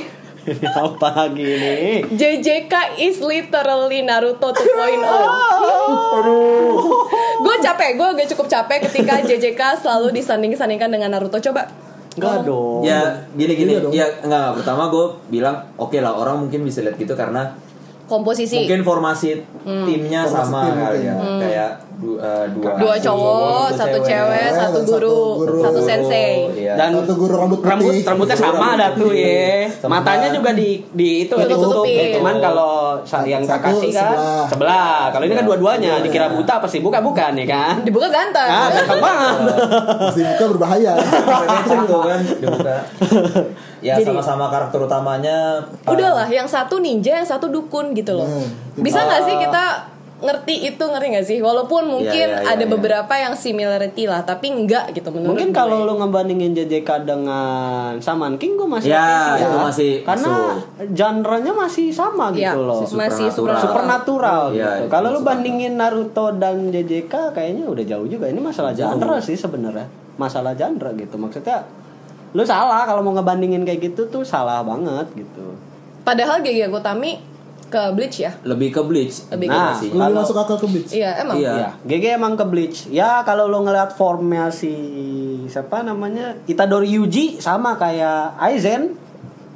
Speaker 5: Ini apa lagi ini?
Speaker 1: JJK is literally Naruto 2.0 Gue capek, gue agak cukup capek ketika JJK selalu disanding-sandingkan dengan Naruto Coba
Speaker 5: Enggak dong.
Speaker 2: Ya gini-gini
Speaker 4: Iya dong.
Speaker 2: ya enggak, enggak. pertama gue bilang oke lah orang mungkin bisa lihat gitu karena
Speaker 1: komposisi
Speaker 2: mungkin formasi
Speaker 1: Hmm.
Speaker 2: timnya
Speaker 4: Formasi
Speaker 2: sama
Speaker 4: tim
Speaker 2: kali
Speaker 4: mungkin.
Speaker 2: ya kayak du- eh, dua
Speaker 1: dua cowok, satu cewek,
Speaker 4: cewek,
Speaker 1: satu
Speaker 4: dan
Speaker 1: guru,
Speaker 4: satu guru.
Speaker 1: satu sensei
Speaker 2: Iya. [laughs]
Speaker 5: Dan
Speaker 4: Satu guru rambut putih
Speaker 5: rambut rambutnya sama ada tuh ya.
Speaker 2: Sama.
Speaker 5: Matanya juga di di itu
Speaker 1: Ditutupin.
Speaker 5: ditutupin. Cuman kalau sa- yang
Speaker 4: Satu,
Speaker 5: Kakashi kan
Speaker 4: sebelah.
Speaker 5: sebelah. Kalau ini kan dua-duanya dikira buta pasti buka bukan ya kan?
Speaker 1: Dibuka ganteng
Speaker 5: Ah, cakep banget.
Speaker 4: Masih buka berbahaya
Speaker 2: Becek tuh kan dibuka.
Speaker 1: [laughs]
Speaker 2: Ya sama-sama karakter utamanya eh,
Speaker 1: Udahlah, yang satu ninja, yang satu dukun gitu loh
Speaker 4: Hmm.
Speaker 1: Bisa nggak sih kita ngerti itu ngerti nggak sih walaupun mungkin
Speaker 2: Iya, iya, iya,
Speaker 1: ada
Speaker 2: iya.
Speaker 1: beberapa yang similarity lah tapi enggak gitu menurut
Speaker 5: Mungkin
Speaker 1: gue.
Speaker 5: kalau lu ngebandingin JJK dengan Saman King gue masih
Speaker 2: Ya,
Speaker 5: oke sih
Speaker 2: itu masih
Speaker 5: karena
Speaker 2: masuk.
Speaker 5: genre-nya masih sama
Speaker 1: Iya,
Speaker 5: gitu loh.
Speaker 2: Masih
Speaker 1: masih
Speaker 2: supernatural.
Speaker 1: supernatural.
Speaker 5: supernatural
Speaker 2: Iya,
Speaker 5: gitu.
Speaker 2: itu
Speaker 5: Kalau lu
Speaker 2: masuk
Speaker 5: bandingin Naruto dan JJK kayaknya udah jauh juga. Ini masalah genre sih sebenarnya. Masalah genre gitu. Maksudnya lu salah kalau mau ngebandingin kayak gitu tuh salah banget gitu.
Speaker 1: Padahal Gege Gotami ke Bleach ya.
Speaker 2: lebih ke bleach
Speaker 1: Lebih ke
Speaker 2: animasi.
Speaker 4: Lebih masuk akal ke beach
Speaker 1: Iya, emang.
Speaker 2: Iya.
Speaker 5: Iya, GG emang ke Bleach. Ya kalau lo ngeliat formnya si siapa namanya Itadori Yuji sama kayak Aizen.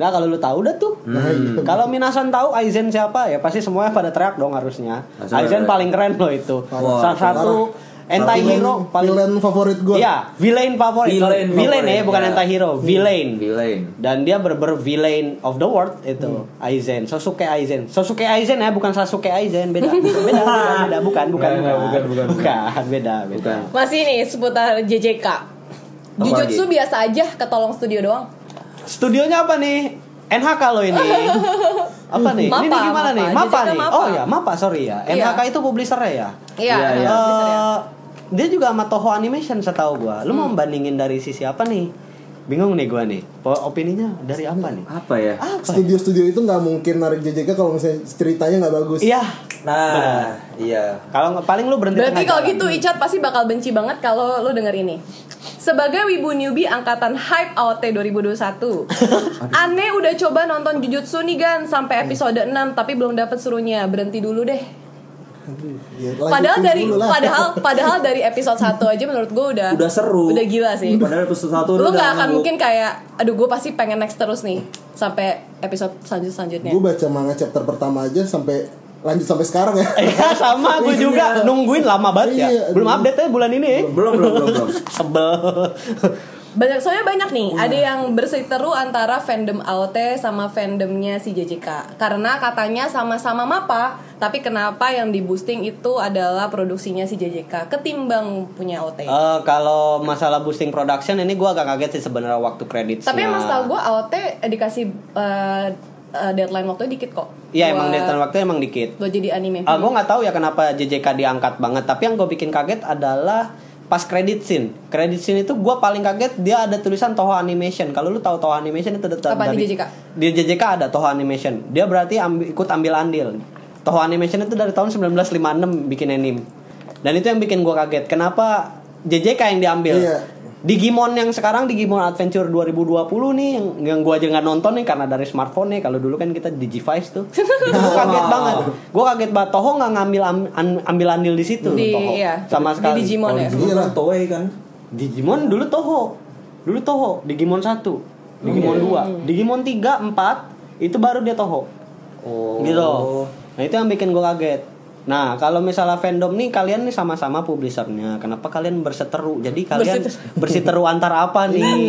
Speaker 5: Nah kalau lo tahu dah tuh.
Speaker 2: Hmm.
Speaker 5: [laughs] Kalau Minasan tahu Aizen siapa ya pasti semuanya pada teriak dong harusnya.
Speaker 2: Langsung
Speaker 5: Aizen
Speaker 2: teriak.
Speaker 5: paling keren loh itu.
Speaker 2: Wah,
Speaker 5: Salah satu anti hero paling
Speaker 4: Villain favorit gue
Speaker 5: Iya, villain favorit.
Speaker 2: Villain
Speaker 5: Villain
Speaker 2: favorit,
Speaker 5: ya, bukan
Speaker 2: ya.
Speaker 5: anti hero, villain.
Speaker 2: Villain.
Speaker 5: Dan dia berber villain of the world itu
Speaker 2: Hmm.
Speaker 5: Aizen, Sasuke Aizen. Sasuke Aizen ya, bukan Sasuke Aizen,
Speaker 2: [laughs]
Speaker 5: beda. Beda, beda, beda. bukan,
Speaker 2: Nggak, nggak, bukan,
Speaker 5: bukan,
Speaker 2: bukan, bukan.
Speaker 5: Bukan, beda, beda.
Speaker 2: Bukan.
Speaker 1: Masih nih seputar JJK. Jujutsu
Speaker 2: lagi?
Speaker 1: biasa aja, ketolong studio doang.
Speaker 5: Studionya apa nih? NHK lo
Speaker 2: [laughs]
Speaker 5: ini. Apa nih? ini,
Speaker 1: Mapa,
Speaker 5: nih gimana
Speaker 1: mapa.
Speaker 5: nih? Mapa
Speaker 1: Jejaka
Speaker 5: nih.
Speaker 1: mapa.
Speaker 5: Oh ya, Mapa, sorry ya.
Speaker 1: Iya.
Speaker 5: NHK itu publishernya ya.
Speaker 1: Iya,
Speaker 2: Iya, iya.
Speaker 1: publisher ya. Hmm.
Speaker 5: Eh, dia juga sama Toho Animation setahu gua. Lu mau bandingin dari sisi apa nih? Bingung nih gua nih. Po- Opininya dari apa nih?
Speaker 2: Apa ya?
Speaker 5: Apa? ya?
Speaker 4: Studio-studio itu nggak mungkin narik JJK kalau misalnya ceritanya nggak bagus.
Speaker 5: Iya.
Speaker 2: Nah, iya.
Speaker 5: Kalau nggak- paling lu berhenti
Speaker 1: Berarti
Speaker 5: tengah
Speaker 1: kalau
Speaker 5: jalan.
Speaker 1: gitu Icat pasti bakal benci banget kalau lo denger ini. Sebagai wibu newbie angkatan Hype AOT
Speaker 2: [laughs]
Speaker 1: 2021. Ane udah coba nonton Jujutsu nih Gan
Speaker 2: Iya.
Speaker 1: sampai episode 6 tapi belum dapat serunya. Berhenti dulu deh.
Speaker 4: Ya, lanjutin
Speaker 1: Padahal dari
Speaker 4: dulu lah.
Speaker 1: padahal padahal dari episode 1 aja menurut gue udah
Speaker 2: Udah seru.
Speaker 1: Udah gila sih.
Speaker 2: Padahal episode satu
Speaker 1: Lu
Speaker 2: udah
Speaker 1: nggak akan
Speaker 2: nanggung.
Speaker 1: mungkin kayak aduh gue pasti pengen next terus nih sampai episode selanjut selanjutnya.
Speaker 4: Gue baca manga chapter pertama aja sampai lanjut sampai sekarang ya.
Speaker 5: Iya sama gue juga nungguin lama banget ya.
Speaker 4: Iya,
Speaker 5: Belum
Speaker 4: aduh.
Speaker 5: update ya bulan ini.
Speaker 2: belum belum belum [laughs] belum.
Speaker 5: Sebel. [laughs]
Speaker 1: Banyak soalnya banyak nih. Ada yang berseteru antara fandom AOT sama fandomnya si JJK. Karena katanya sama-sama mapa, tapi kenapa yang di boosting itu adalah produksinya si JJK ketimbang punya AOT.
Speaker 5: Eh, kalau masalah boosting production ini gue agak kaget sih sebenarnya waktu kredit.
Speaker 1: tapi emang setahu gue AOT eh, dikasih eh, eh, deadline waktu dikit kok.
Speaker 5: Iya emang
Speaker 1: Buat-
Speaker 5: deadline waktu emang dikit.
Speaker 1: buat jadi anime.
Speaker 5: Ah, gue nggak tahu ya kenapa JJK diangkat banget. Tapi yang gue bikin kaget adalah pas credit scene. Credit scene itu gue paling kaget dia ada tulisan Toho Animation. Kalau lu tahu Toho Animation itu dat-
Speaker 1: Apa, di
Speaker 5: dari
Speaker 1: JJK?
Speaker 5: Di JJK ada Toho Animation. Dia berarti ambi- ikut ambil andil. Toho Animation itu dari tahun 1956 bikin anime. Dan itu yang bikin gue kaget. Kenapa JJK yang diambil?
Speaker 4: Iya.
Speaker 5: Digimon yang sekarang Digimon Adventure 2020 nih yang, yang gua aja nggak nonton nih karena dari smartphone nih kalau dulu kan kita Digivice tuh.
Speaker 1: Nah.
Speaker 5: gue kaget banget. Gue kaget banget Toho nggak ngambil am- an- ambil andil di situ
Speaker 1: Di-
Speaker 5: Toho.
Speaker 1: iya. Di
Speaker 5: Sama sekali.
Speaker 1: Digimon ya?
Speaker 2: Dulu kan Toei kan.
Speaker 5: Digimon dulu Toho. Dulu Toho, Digimon 1, Digimon 2, Digimon 3, 4 itu baru dia Toho.
Speaker 2: Oh.
Speaker 5: Gitu. Nah, itu yang bikin gue kaget. Nah, kalau misalnya fandom nih kalian nih sama-sama publishernya. Kenapa kalian berseteru? Jadi kalian berseteru antara apa nih?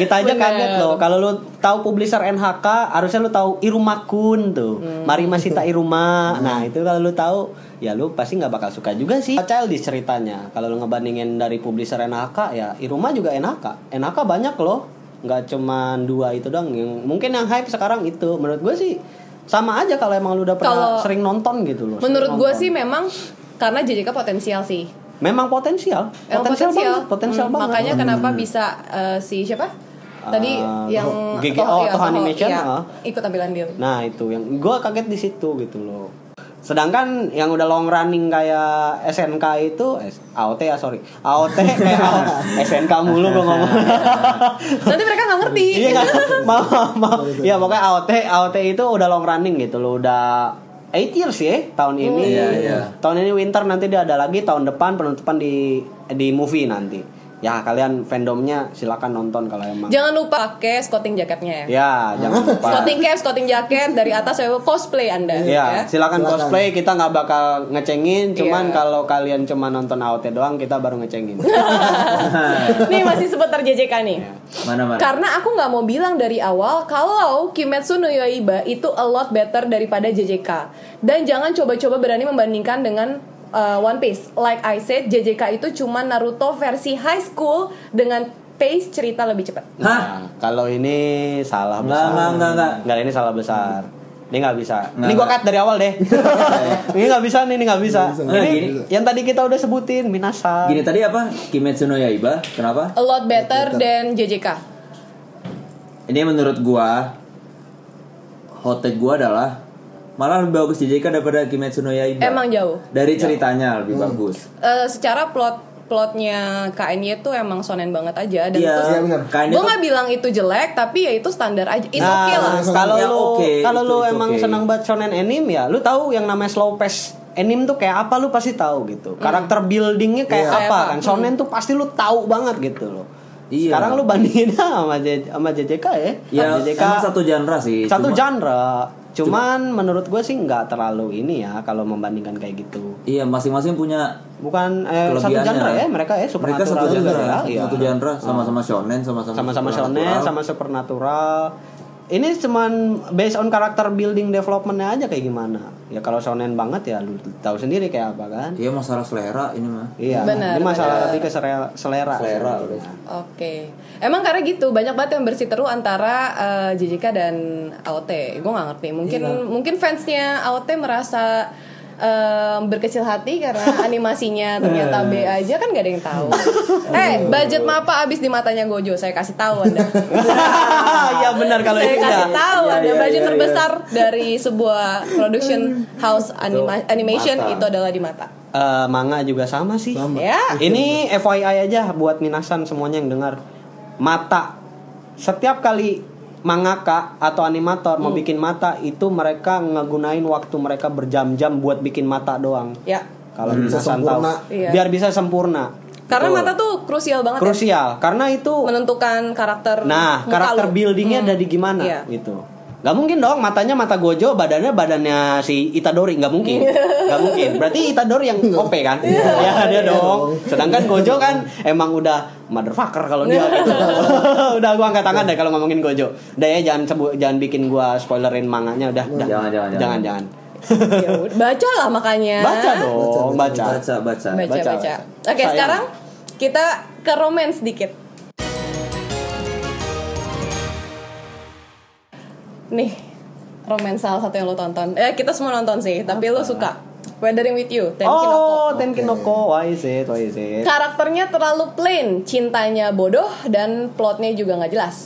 Speaker 5: Kita aja kaget loh. Kalau lu tahu publisher NHK, harusnya lu tahu Iruma Kun tuh. Mari Masita Iruma. Nah, itu kalau lu tahu, ya lu pasti nggak bakal suka juga sih. Childish ceritanya. Kalau lu ngebandingin dari publisher NHK, ya Iruma juga NHK. NHK banyak loh. Nggak cuman dua itu doang. Yang, mungkin yang hype sekarang itu. Menurut gue sih sama aja kalau emang lu udah pernah
Speaker 1: Kalau-
Speaker 5: sering nonton gitu loh.
Speaker 1: [laughs] Menurut
Speaker 5: sering
Speaker 1: gue
Speaker 5: nonton.
Speaker 1: sih memang karena JJK potensial sih.
Speaker 5: memang potensial,
Speaker 1: Yang
Speaker 5: potensial, banget,
Speaker 1: Eh, Oh,
Speaker 5: potensial
Speaker 1: Hmm,
Speaker 5: banget.
Speaker 1: Makanya kenapa bisa eh, si siapa? Tadi
Speaker 5: Ah,
Speaker 1: yang
Speaker 5: GGO,
Speaker 1: iya,
Speaker 5: Toho Animation,
Speaker 1: iya,
Speaker 5: ah.
Speaker 1: ikut tampilan dia.
Speaker 5: Nah itu yang gue kaget di situ gitu loh. Sedangkan yang udah long running kayak SNK itu eh, AOT ya sorry AOT eh, AOT. SNK mulu gue ngomong
Speaker 1: Nanti mereka nggak ngerti.
Speaker 5: iya [laughs] kan maaf maaf, maaf ya pokoknya AOT AOT itu udah long running gitu loh udah 8 years ya tahun ini
Speaker 2: Iya, iya.
Speaker 5: tahun ini winter nanti dia ada lagi tahun depan penutupan di di movie nanti ya kalian fandomnya silakan nonton kalau emang
Speaker 1: Jangan lupa pakai scouting jaketnya ya.
Speaker 5: ya jangan lupa
Speaker 1: Scouting cap, scouting jaket dari atas saya cosplay Anda
Speaker 5: Ya,
Speaker 1: ya.
Speaker 5: silakan,
Speaker 4: Silakan.
Speaker 5: cosplay. Kita nggak bakal ngecengin. Cuman
Speaker 1: Iya.
Speaker 5: kalau kalian cuma nonton AOT doang, kita baru ngecengin.
Speaker 1: Nih masih seputar JJK nih.
Speaker 2: [laughs]
Speaker 5: Iya.
Speaker 2: Mana mana.
Speaker 1: Karena aku nggak mau bilang dari awal kalau Kimetsu no Yaiba itu a lot better daripada JJK. Dan jangan coba-coba berani membandingkan dengan uh, One Piece. Like I said, JJK itu cuma Naruto versi high school dengan pace cerita lebih cepat.
Speaker 2: Hah?
Speaker 5: Nah, kalau ini salah
Speaker 2: Nggak,
Speaker 5: besar.
Speaker 2: nggak, nggak, nggak.
Speaker 5: Nggak, ini salah besar. Ini nggak bisa.
Speaker 2: Nggak,
Speaker 5: ini gua
Speaker 2: nggak.
Speaker 5: cut dari
Speaker 2: [laughs]
Speaker 5: awal deh. ini nggak bisa nih, ini nggak bisa.
Speaker 2: nggak
Speaker 5: Ini
Speaker 2: bisa.
Speaker 5: yang tadi kita udah sebutin Minasa.
Speaker 2: Gini tadi apa? Kimetsu no Yaiba. Kenapa?
Speaker 1: A lot better than JJK.
Speaker 2: Ini menurut gua hot take gua adalah malah lebih bagus JJK daripada Kimetsu no Yaiba.
Speaker 1: Emang jauh.
Speaker 2: Dari ceritanya lebih bagus.
Speaker 1: Eh, secara plot plotnya KNY itu emang sonen banget aja dan
Speaker 2: Iya,
Speaker 4: Iya, benar.
Speaker 1: gue
Speaker 2: KNY tuh-
Speaker 1: nggak bilang itu jelek tapi ya itu standar aja it's
Speaker 5: Nah,
Speaker 1: okay lah
Speaker 5: kalau
Speaker 2: Ya,
Speaker 5: lu
Speaker 2: oke,
Speaker 5: kalau
Speaker 2: itu-
Speaker 5: lu
Speaker 2: it's
Speaker 5: emang
Speaker 2: okay.
Speaker 5: senang banget shonen anime ya, lu tahu yang namanya slow pace anime tuh kayak apa lu pasti tahu
Speaker 1: Hmm.
Speaker 5: gitu. Karakter buildingnya kayak
Speaker 1: Kayak
Speaker 5: apa
Speaker 1: apa,
Speaker 5: kan? Shonen tuh pasti lu tahu banget gitu loh.
Speaker 2: Iya.
Speaker 5: Sekarang lu bandingin [laughs] sama J- sama JJK ya.
Speaker 2: Ya,
Speaker 5: JJK
Speaker 2: emang satu genre sih.
Speaker 5: satu
Speaker 2: cuma-
Speaker 5: genre. Cuman menurut gue sih nggak terlalu ini ya kalau membandingkan kayak gitu.
Speaker 2: Iya, masing-masing punya
Speaker 5: Bukan eh, satu
Speaker 2: kelebihannya.
Speaker 5: genre ya mereka ya
Speaker 2: Mereka
Speaker 5: supernatural.
Speaker 2: satu genre,
Speaker 5: juga ya, iya
Speaker 2: satu genre sama-sama shonen, sama-sama
Speaker 5: sama-sama shonen
Speaker 2: supernatural.
Speaker 5: sama supernatural ini cuman based on karakter building developmentnya aja kayak gimana ya kalau shonen banget ya lu tahu sendiri kayak apa kan
Speaker 2: Iya masalah selera ini mah.
Speaker 5: iya
Speaker 1: Benar,
Speaker 5: ini masalah
Speaker 1: benar.
Speaker 5: lebih ke selera selera,
Speaker 2: Selera, udah.
Speaker 5: [laughs]
Speaker 1: Oke, emang karena gitu banyak banget yang berseteru antara eh, JJK dan AOT. Gue nggak ngerti. Mungkin mungkin fansnya AOT merasa eh, berkecil hati karena animasinya ternyata B aja kan gak ada yang tahu. eh, budget mapa abis di matanya Gojo. Saya kasih tahu anda.
Speaker 5: ya benar kalau
Speaker 1: Saya
Speaker 5: itu
Speaker 1: kasih
Speaker 5: ya
Speaker 1: tahu
Speaker 2: Iya,
Speaker 1: anda
Speaker 2: iya,
Speaker 1: budget
Speaker 2: iya,
Speaker 1: terbesar dari sebuah production house anima-
Speaker 2: Itu
Speaker 1: animation
Speaker 2: mata.
Speaker 1: itu adalah di mata.
Speaker 5: Eh, manga juga sama sih
Speaker 4: Sama. Iya,
Speaker 1: Ya.
Speaker 5: Ini FYI aja buat Minasan semuanya yang dengar. Mata. Setiap kali mangaka atau animator
Speaker 4: Hmm.
Speaker 5: mau bikin mata itu mereka ngegunain waktu mereka berjam-jam buat bikin mata doang.
Speaker 1: Ya.
Speaker 5: Kalau
Speaker 4: Biar bisa
Speaker 5: Minasan tahu.
Speaker 4: Hmm. sempurna.
Speaker 1: Iya.
Speaker 5: Biar bisa sempurna.
Speaker 1: Karena mata tuh krusial banget. ya.
Speaker 5: Krusial karena itu
Speaker 1: menentukan karakter
Speaker 5: nah
Speaker 1: muka
Speaker 5: karakter
Speaker 1: lu.
Speaker 5: buildingnya
Speaker 1: Hmm.
Speaker 5: dari gimana
Speaker 1: Iya.
Speaker 5: gitu. Gak mungkin dong matanya mata Gojo, badannya badannya si Itadori nggak mungkin,
Speaker 1: Iya.
Speaker 5: nggak mungkin. Berarti Itadori yang
Speaker 2: Iya.
Speaker 5: OP kan? [laughs] ya dia dong. Sedangkan Gojo kan emang udah motherfucker kalau dia.
Speaker 1: Iya.
Speaker 5: gitu. [laughs] udah gua angkat tangan deh kalau ngomongin Gojo. Udah ya jangan sebut, jangan bikin gua spoilerin manganya udah. udah.
Speaker 2: Jangan, jangan, jangan.
Speaker 5: jangan, jangan.
Speaker 1: Ya udah, bacalah makanya
Speaker 5: Baca dong, baca.
Speaker 2: Baca baca.
Speaker 1: baca baca,
Speaker 5: baca.
Speaker 1: oke
Speaker 5: Sayang.
Speaker 1: sekarang kita ke romance dikit nih romance salah satu yang lo tonton eh kita semua nonton sih tapi lo suka Weathering with You Tenkinoko
Speaker 5: Oh, iya. Tenkinoko, why is it, why is it?
Speaker 1: karakternya terlalu plain cintanya bodoh dan plotnya juga nggak jelas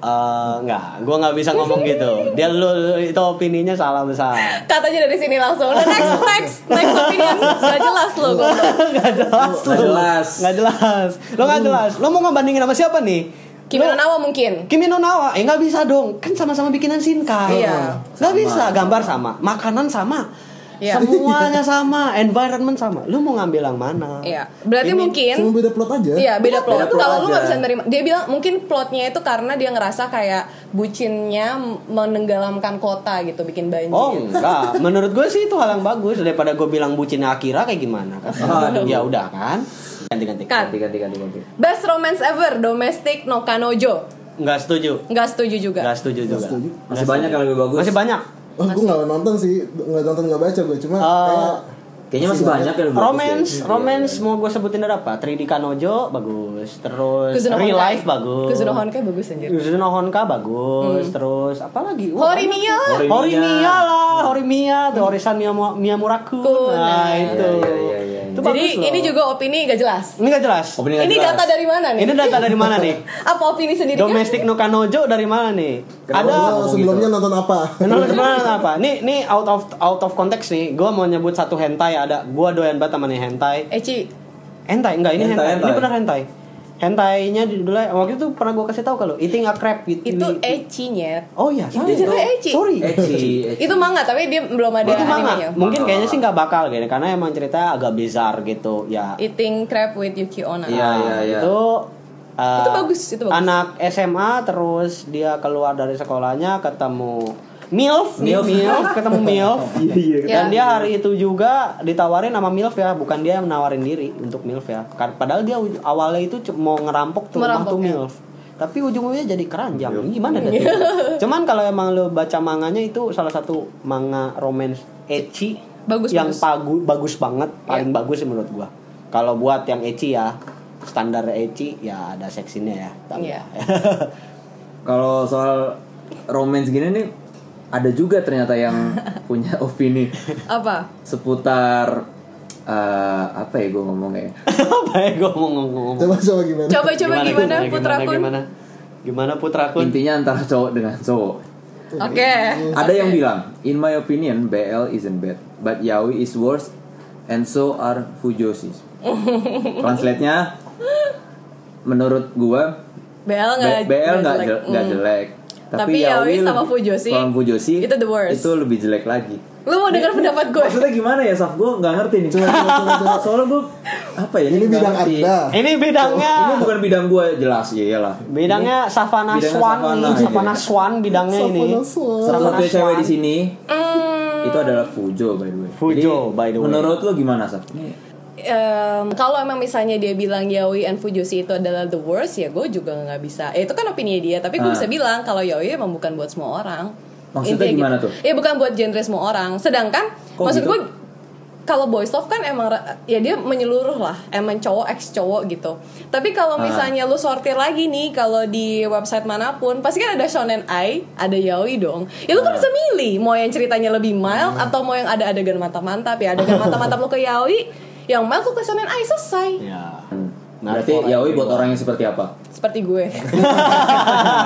Speaker 5: Eh, nggak, gua nggak bisa ngomong gitu. Dia lu, lu- itu opininya salah besar.
Speaker 1: katanya dari sini langsung Udah,
Speaker 5: [laughs]
Speaker 1: next next next opinion nggak jelas lo gue
Speaker 5: Gak jelas lu.
Speaker 2: Nggak jelas.
Speaker 5: Nggak jelas. Lo gak jelas. Lo mau ngebandingin sama siapa nih?
Speaker 1: Hmm. Kimi no
Speaker 5: Lo-
Speaker 1: Nawa mungkin
Speaker 5: Kimi no Nawa. Eh nggak bisa dong. Kan sama-sama bikinan Shinkai.
Speaker 1: Iya.
Speaker 5: Nggak bisa. Gambar sama. Makanan sama.
Speaker 1: Iya. [laughs]
Speaker 5: Semuanya sama. Environment sama. Lo mau ngambil yang mana?
Speaker 1: Iya, berarti mungkin
Speaker 4: Cuma beda plot aja.
Speaker 1: Iya beda plot.
Speaker 2: Beda plot
Speaker 1: Kalau lu
Speaker 2: aja.
Speaker 1: nggak
Speaker 5: Iya.
Speaker 1: bisa nerima, dia bilang mungkin plotnya itu karena dia ngerasa kayak bucinnya menenggelamkan kota gitu, bikin banjir.
Speaker 5: Oh enggak, menurut gue sih itu hal yang bagus daripada gue bilang bucinnya Akira kayak gimana kan?
Speaker 2: Aduh.
Speaker 5: ya udah kan, ganti-ganti.
Speaker 1: Kan.
Speaker 2: Ganti ganti ganti ganti.
Speaker 1: Best romance ever, domestic no kanojo.
Speaker 5: Enggak setuju,
Speaker 1: Nggak setuju juga.
Speaker 5: enggak setuju juga.
Speaker 4: setuju.
Speaker 2: Masih banyak yang lebih bagus.
Speaker 5: Masih banyak.
Speaker 4: Oh, gue gak nonton sih, gak nonton gak baca gue cuma
Speaker 1: Oh,
Speaker 5: Eh,
Speaker 4: kayak
Speaker 2: Kayaknya masih banyak yang lebih bagus.
Speaker 5: Romance,
Speaker 2: ya.
Speaker 5: romance mau gue sebutin ada apa? 3D Kanojo bagus, terus
Speaker 1: Kuzuno
Speaker 5: Real
Speaker 1: Honkai.
Speaker 5: Life bagus. Iya.
Speaker 1: Kuzuno Honkai bagus anjir.
Speaker 5: Kuzuno Honka bagus,
Speaker 2: Hmm.
Speaker 5: terus apa lagi? Wah,
Speaker 1: Horimiya lah.
Speaker 5: banyak. Horimiya lah, Horimiya, The Orisan Miyamu- Miyamuraku.
Speaker 1: Kun, nah.
Speaker 5: Nah, itu.
Speaker 2: Iya, iya, iya, iya.
Speaker 5: Itu
Speaker 1: Jadi
Speaker 5: bagus loh.
Speaker 1: ini juga opini nggak jelas.
Speaker 5: ini gak jelas.
Speaker 2: Opini nggak
Speaker 1: Ini
Speaker 2: jelas.
Speaker 1: data dari mana nih?
Speaker 5: Ini data dari mana nih?
Speaker 1: Apa opini sendiri?
Speaker 2: kan-
Speaker 5: Domestic no Kanojo dari mana nih?
Speaker 2: Kenapa
Speaker 5: ada
Speaker 1: gitu.
Speaker 4: "Oh, sebelumnya nonton apa? [laughs]
Speaker 5: Menurut sebenarnya apa? Nih nih out of out of konteks nih. Gua mau nyebut satu hentai ada. Gua doyan banget sama nih hentai.
Speaker 1: Eci,
Speaker 5: Hentai enggak ini
Speaker 2: Hentai,
Speaker 5: hentai. Ini
Speaker 2: hentai.
Speaker 5: benar hentai. Hentainya judulnya waktu itu pernah gue kasih tahu kalau eating a crab with-
Speaker 1: itu
Speaker 5: with-
Speaker 1: ecinya.
Speaker 5: Oh iya,
Speaker 1: Itu judulnya Eci.
Speaker 5: Sorry. [laughs]
Speaker 2: Eci, Eci.
Speaker 1: Itu manga tapi dia belum ada
Speaker 5: Itu manga.
Speaker 1: animenya.
Speaker 5: Mungkin
Speaker 2: Manga.
Speaker 5: kayaknya sih nggak bakal gini karena emang ceritanya agak bizar gitu ya.
Speaker 1: Eating crab with Yuki Onna.
Speaker 2: Iya, iya, iya.
Speaker 5: Nah, Itu uh,
Speaker 1: Itu bagus, itu bagus.
Speaker 5: Anak SMA terus dia keluar dari sekolahnya ketemu MILF,
Speaker 2: Milf.
Speaker 5: ketemu MILF.
Speaker 1: Ya.
Speaker 5: Dan dia hari itu juga ditawarin sama MILF ya, bukan dia yang nawarin diri untuk MILF ya. Kar- Padahal dia uj- awalnya itu c- mau ngerampok tuh rumah
Speaker 1: Merampok,
Speaker 5: tuh
Speaker 1: ya.
Speaker 5: MILF. Tapi ujung-ujungnya jadi keranjang. Ini Gimana deh?
Speaker 1: Iya.
Speaker 5: Cuman kalau emang lo baca manganya itu salah satu manga romance ecchi
Speaker 1: Bagus,
Speaker 5: yang
Speaker 1: bagus.
Speaker 5: pagu- bagus banget,
Speaker 1: Iya.
Speaker 5: paling bagus sih menurut gua. Kalau buat yang ecchi ya, standar ecchi ya ada seksinya ya. Tapi-
Speaker 1: Iya.
Speaker 2: Kalau soal romance gini nih ada juga ternyata
Speaker 5: [laughs]
Speaker 2: yang punya opini
Speaker 1: Apa?
Speaker 2: seputar eh, apa ya gue ngomongnya ya?
Speaker 5: [laughs] Apa ya gua mau ngomong?
Speaker 4: Coba coba gimana?
Speaker 1: Coba coba gimana, Putra Kun?
Speaker 5: Gimana? Gimana Putra Kun?
Speaker 2: intinya antara cowok dengan cowok
Speaker 1: Oke.
Speaker 2: ada yang bilang in my opinion BL isn't bad but yaoi is worse and so are
Speaker 1: [laughs]
Speaker 2: fujoshi translate nya menurut gua
Speaker 1: BL Oh, nggak
Speaker 2: B- BL nggak
Speaker 1: jelek.
Speaker 2: jelek, nggak
Speaker 1: Mm.
Speaker 2: jelek.
Speaker 1: Tapi yaoi sama
Speaker 2: lebih-
Speaker 1: fujoshi,
Speaker 2: sama fujoshi
Speaker 1: itu the worst.
Speaker 2: itu lebih jelek lagi
Speaker 1: Lu mau dengar pendapat gue?
Speaker 2: maksudnya gimana ya Saf gue nggak ngerti nih soalnya gue apa ya
Speaker 4: Ini
Speaker 2: nggak
Speaker 4: bidang
Speaker 2: ngerti.
Speaker 4: Anda.
Speaker 5: Ini bidangnya
Speaker 2: Oh, ini bukan bidang gue jelas ya iyalah
Speaker 5: Bidangnya Savana
Speaker 2: bidangnya
Speaker 5: Swan,
Speaker 2: Savana,
Speaker 5: nih,
Speaker 2: iya.
Speaker 5: Savana Swan bidangnya ini.
Speaker 4: Savana Swan.
Speaker 2: satu-satunya
Speaker 5: Savana
Speaker 2: cewek di
Speaker 5: Swan.
Speaker 2: sini
Speaker 1: Hmm.
Speaker 2: itu adalah Fujo by the way.
Speaker 5: Fujo, by the way.
Speaker 2: Menurut lo gimana Saf?
Speaker 1: Em, kalau emang misalnya dia bilang yaoi and fujoshi itu adalah the worst, ya gue juga nggak bisa. Eh, itu Ya, kan opini dia, tapi gue
Speaker 2: Ah.
Speaker 1: bisa bilang kalau yaoi emang bukan buat semua orang.
Speaker 2: Maksudnya
Speaker 1: Intinya
Speaker 2: gimana
Speaker 1: gitu.
Speaker 2: tuh?
Speaker 1: Ya bukan buat genre semua orang. Sedangkan
Speaker 2: Kok
Speaker 1: maksud
Speaker 2: gitu?
Speaker 1: gue kalau boys love kan emang ra- ya dia menyeluruh lah, emang cowok ex cowok gitu. Tapi kalau
Speaker 2: Ah.
Speaker 1: misalnya lu sortir lagi nih kalau di website manapun pasti kan ada shonen ai, ada yaoi dong. Ya lu kan bisa milih mau yang ceritanya lebih mild
Speaker 2: Hmm.
Speaker 1: atau mau yang ada adegan mantap-mantap ya. Adegan
Speaker 2: [laughs]
Speaker 1: mantap-mantap lu ke yaoi, yang mild lu ke shonen ai selesai.
Speaker 5: Ya.
Speaker 2: Hmm.
Speaker 5: Nah,
Speaker 2: Berarti
Speaker 5: orang
Speaker 2: yaoi buat
Speaker 5: kedua.
Speaker 2: orang yang seperti apa?
Speaker 1: Seperti gue.
Speaker 5: [laughs]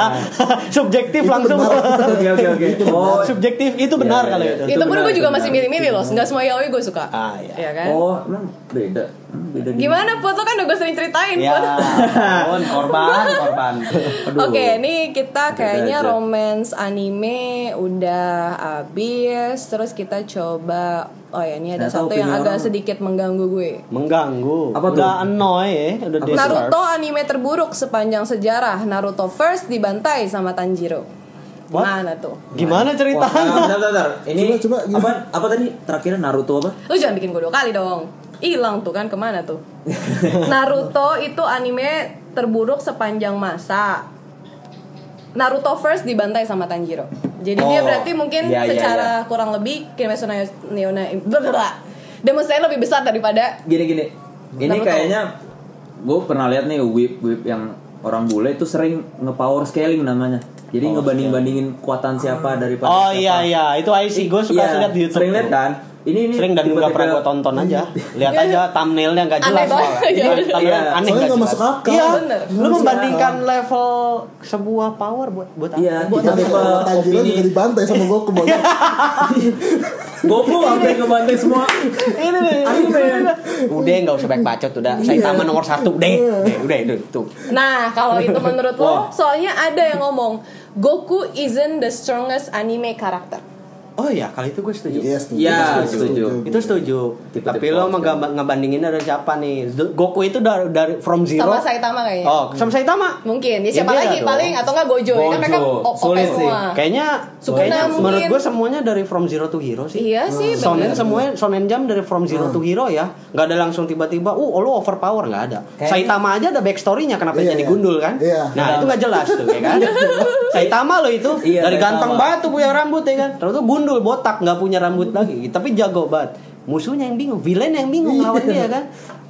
Speaker 5: Subjektif langsung.
Speaker 2: Oke oke oke. Oh,
Speaker 5: [laughs] Subjektif itu benar
Speaker 2: Iya,
Speaker 5: kalau
Speaker 2: iya.
Speaker 5: itu.
Speaker 1: itu pun
Speaker 2: benar,
Speaker 1: gue
Speaker 2: [laughs] itu
Speaker 1: juga
Speaker 2: benar.
Speaker 1: masih milih-milih loh. Enggak semua yaoi gue suka.
Speaker 5: Ah, iya.
Speaker 1: kan?
Speaker 2: oh emang beda. Hmm, beda di-
Speaker 1: Gimana foto kan udah gue sering ceritain
Speaker 2: Iya.
Speaker 5: Ya,
Speaker 1: Put.
Speaker 5: ampun,
Speaker 1: [laughs]
Speaker 5: korban, korban.
Speaker 2: Aduh.
Speaker 1: Oke, ini kita kayaknya
Speaker 2: aja.
Speaker 1: romance anime udah habis. Terus kita coba oh ya ini ada
Speaker 2: Nggak tahu
Speaker 1: satu yang
Speaker 2: opini
Speaker 1: agak
Speaker 2: orang.
Speaker 1: sedikit mengganggu gue.
Speaker 5: Mengganggu.
Speaker 2: Apa tuh?
Speaker 5: udah annoy ya, udah
Speaker 2: Apa tuh?
Speaker 5: disturb.
Speaker 1: Naruto anime terburuk sepanjang sejarah. Naruto first dibantai sama Tanjiro.
Speaker 5: What?
Speaker 1: Mana tuh?
Speaker 2: Wah,
Speaker 5: Gimana ceritanya?
Speaker 2: bentar, bentar, bentar. Ini
Speaker 4: Coba, coba, gimana?
Speaker 2: apa apa tadi terakhirnya Naruto apa?
Speaker 1: Lu jangan bikin gue dua kali dong. Hilang tuh kan kemana tuh? [laughs] Naruto itu anime terburuk sepanjang masa. Naruto first dibantai sama Tanjiro. Jadi dia
Speaker 2: Oh,
Speaker 1: berarti mungkin
Speaker 2: iya, iya,
Speaker 1: secara kurang lebih Kimetsu no Yona Demonstrasi lebih besar daripada
Speaker 2: Gini gini. Ini
Speaker 1: Naruto.
Speaker 2: kayaknya gue pernah lihat nih whip whip yang orang bule itu sering nge-power scaling namanya. Jadi ngebanding-bandingin kekuatan siapa daripada
Speaker 5: Oh
Speaker 2: siapa.
Speaker 5: iya iya, itu IC gue suka
Speaker 2: Iya,
Speaker 5: lihat di YouTube.
Speaker 2: Sering lihat
Speaker 5: tuh.
Speaker 2: kan? Ini ini
Speaker 5: Sering dan nggak
Speaker 2: tiba-tiba-
Speaker 5: pernah gue tonton aja. Lihat aja thumbnailnya nggak
Speaker 1: Aneh
Speaker 5: jelas.
Speaker 1: banget.
Speaker 5: soalnya.
Speaker 1: Iya,
Speaker 5: Thumbnail
Speaker 2: iya.
Speaker 5: aneh
Speaker 4: Soalnya
Speaker 5: nggak
Speaker 4: nggak
Speaker 5: jelas.
Speaker 4: masuk akal.
Speaker 5: Iya,
Speaker 1: Bener.
Speaker 5: lu membandingkan level sebuah power buat buat apa?
Speaker 2: Iya,
Speaker 4: Buat
Speaker 2: tiba-tiba
Speaker 4: Tanjiro
Speaker 2: opini
Speaker 4: juga dibantai sama Goku
Speaker 5: Iya.
Speaker 4: banget.
Speaker 2: Goku sampai ngebanding
Speaker 5: [laughs]
Speaker 2: semua
Speaker 5: Ini nih. Udah nggak usah back bacot udah. Saya taman nomor satu deh. Deh, Udah itu tuh.
Speaker 1: Nah, kalau itu
Speaker 2: [laughs]
Speaker 1: menurut lo, soalnya ada yang ngomong Goku isn't the strongest anime karakter.
Speaker 5: Oh iya, kali itu gue setuju.
Speaker 4: Iya, setuju.
Speaker 2: Iya, setuju.
Speaker 5: Itu setuju.
Speaker 2: Tipe-tipe
Speaker 5: Tapi lo
Speaker 2: power
Speaker 5: menggamb- ngebandingin dari siapa nih? Goku itu dari, dari from zero.
Speaker 1: Sama Saitama kayaknya.
Speaker 5: Oh, sama Saitama.
Speaker 1: Mungkin. Ya siapa
Speaker 5: Iya,
Speaker 1: lagi
Speaker 5: dong.
Speaker 1: paling atau enggak Gojo, ya kan mereka
Speaker 2: Gojo.
Speaker 1: op
Speaker 2: Sulit sih.
Speaker 1: semua.
Speaker 5: Kayaknya,
Speaker 1: Sukuna
Speaker 5: kayaknya
Speaker 1: mungkin.
Speaker 5: menurut gue semuanya dari from zero to hero sih.
Speaker 1: Iya sih,
Speaker 5: Sonen
Speaker 1: bener.
Speaker 5: semuanya Sonen Jam dari from zero to hero ya. Nggak ada langsung tiba-tiba, uh oh, lo overpower nggak ada. Saitama aja ada backstory-nya kenapa
Speaker 4: Iya,
Speaker 5: jadi
Speaker 4: iya.
Speaker 5: gundul kan?
Speaker 4: Iya.
Speaker 5: Nah itu nggak jelas tuh ya kan. Saitama lo itu
Speaker 2: Iya,
Speaker 5: dari
Speaker 2: Saitama.
Speaker 5: ganteng banget tuh punya rambut ya kan. Terus tuh gundul botak nggak punya rambut lagi, tapi jago banget. Musuhnya yang bingung, villain yang bingung lawan dia kan.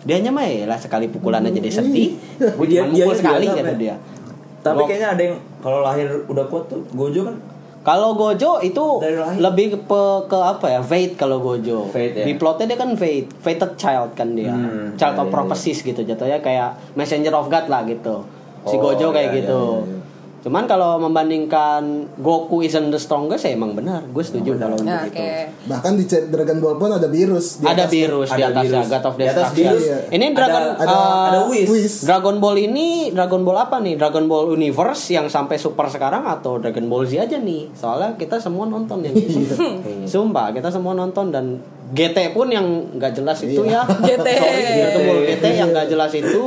Speaker 5: Dianya mah ya lah sekali pukulan aja dia sedih.
Speaker 2: Dia-
Speaker 5: Dia,
Speaker 2: dia- dia
Speaker 5: sekali
Speaker 2: apa
Speaker 5: kata
Speaker 2: ya?
Speaker 5: dia.
Speaker 2: Tapi
Speaker 5: Lo-
Speaker 2: kayaknya ada yang kalau lahir udah kuat tuh Gojo kan
Speaker 5: Kalau Gojo itu
Speaker 2: Dari lahir.
Speaker 5: lebih ke, ke apa ya? Fate kalau Gojo.
Speaker 2: Fate, ya.
Speaker 5: Di plotnya dia kan fate, fated child kan dia.
Speaker 2: Hmm,
Speaker 5: child
Speaker 2: iya,
Speaker 5: of
Speaker 2: iya,
Speaker 5: prophecies gitu jatuhnya kayak messenger of God lah gitu. Si
Speaker 2: Oh,
Speaker 5: Gojo kayak
Speaker 2: iya,
Speaker 5: gitu.
Speaker 2: iya, iya,
Speaker 5: Cuman kalau membandingkan Goku isn't the strongest ya emang benar. Gue setuju kalau untuk
Speaker 1: Nah,
Speaker 2: gitu.
Speaker 1: Oke.
Speaker 5: itu.
Speaker 4: Bahkan di chat Dragon Ball pun ada virus. di
Speaker 5: Ada
Speaker 4: atas.
Speaker 5: virus di
Speaker 2: Ada
Speaker 5: atasnya,
Speaker 2: virus.
Speaker 5: God of
Speaker 2: Di atas
Speaker 5: Destruction.
Speaker 2: virus.
Speaker 5: Ini
Speaker 2: Ada-
Speaker 5: Dragon
Speaker 4: ada-
Speaker 5: eh,
Speaker 2: ada Whis.
Speaker 4: Whis.
Speaker 5: Dragon Ball ini Dragon Ball apa nih? Dragon Ball Universe yang sampai super sekarang atau Dragon Ball Z aja nih? Soalnya kita semua nonton yang itu.
Speaker 2: Iya.
Speaker 5: Sumpah, kita semua nonton dan GT pun yang nggak jelas itu
Speaker 2: Iya.
Speaker 5: ya.
Speaker 2: [laughs]
Speaker 1: GT.
Speaker 5: Sorry, Dragon Ball GT yang nggak jelas itu.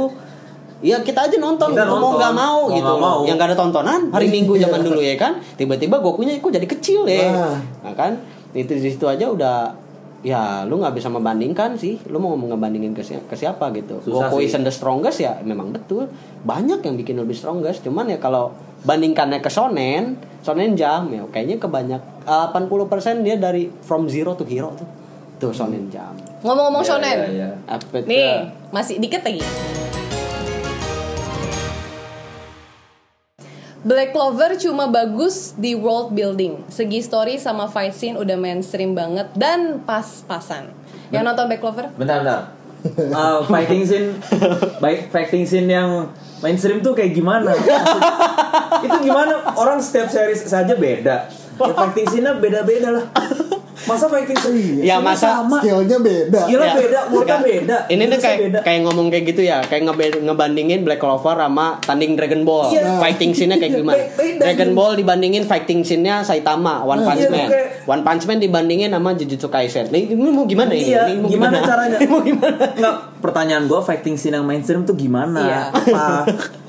Speaker 5: Ya kita aja nonton,
Speaker 2: Kita
Speaker 5: gitu, mau
Speaker 2: nonton.
Speaker 5: nggak mau,
Speaker 2: Mau
Speaker 5: gitu
Speaker 2: nggak
Speaker 5: loh.
Speaker 2: mau.
Speaker 5: Yang nggak ada tontonan
Speaker 2: Iya.
Speaker 5: hari Minggu zaman dulu ya kan. Tiba-tiba Gokunya kok jadi kecil ya.
Speaker 4: Wah.
Speaker 5: Nah kan itu di situ aja udah ya lu nggak bisa membandingkan sih lu mau ngebandingin ke, si- ke siapa gitu
Speaker 2: Susah
Speaker 5: Goku
Speaker 2: sih.
Speaker 5: is the strongest ya memang betul banyak yang bikin lebih strongest cuman ya kalau bandingkannya ke Sonen Sonen Jam ya kayaknya kebanyak 80% dia dari from zero to hero tuh tuh Sonen Jam
Speaker 1: Ngomong-ngomong
Speaker 2: Iya,
Speaker 1: shonen.
Speaker 2: iya, iya.
Speaker 5: apa tuh?
Speaker 1: Nih, masih dikit lagi. Black Clover cuma bagus di world building. Segi story sama fight scene udah mainstream banget dan pas-pasan. Yang nonton Black Clover?
Speaker 2: Bentar,
Speaker 5: [laughs]
Speaker 2: bentar. Eh, fighting scene baik fighting scene yang mainstream tuh kayak
Speaker 5: [laughs]
Speaker 2: gimana? Maksud- itu gimana? Orang setiap series saja beda. Ya, fighting scene-nya beda-beda lah. Masa fighting scene? scene-nya
Speaker 5: Ya, masa-
Speaker 2: sama.
Speaker 4: Iya, Skillnya beda.
Speaker 2: Skill- Gila,
Speaker 5: Ya.
Speaker 2: beda, worldnya
Speaker 5: Sekarang,
Speaker 2: beda.
Speaker 5: Ini tuh
Speaker 2: Virusnya
Speaker 5: kayak
Speaker 2: beda.
Speaker 5: kayak ngomong kayak gitu ya, kayak ngebe- ngebandingin Black Clover sama tanding Dragon Ball.
Speaker 2: Iya.
Speaker 5: Fighting scene-nya kayak
Speaker 2: Iya,
Speaker 5: gimana?
Speaker 2: be- beda.
Speaker 5: Dragon Ball dibandingin fighting scene-nya Saitama, One Punch
Speaker 2: Iya,
Speaker 5: Man.
Speaker 2: kayak-
Speaker 5: One Punch Man dibandingin sama Jujutsu Kaisen. Ini, ini mau gimana ini?
Speaker 2: Iya,
Speaker 5: Ini mau
Speaker 2: gimana
Speaker 1: [laughs]
Speaker 2: caranya?
Speaker 5: [laughs] Ini mau gimana?
Speaker 2: Nggak, pertanyaan gua fighting scene yang mainstream tuh gimana?
Speaker 1: Iya.
Speaker 2: Apa?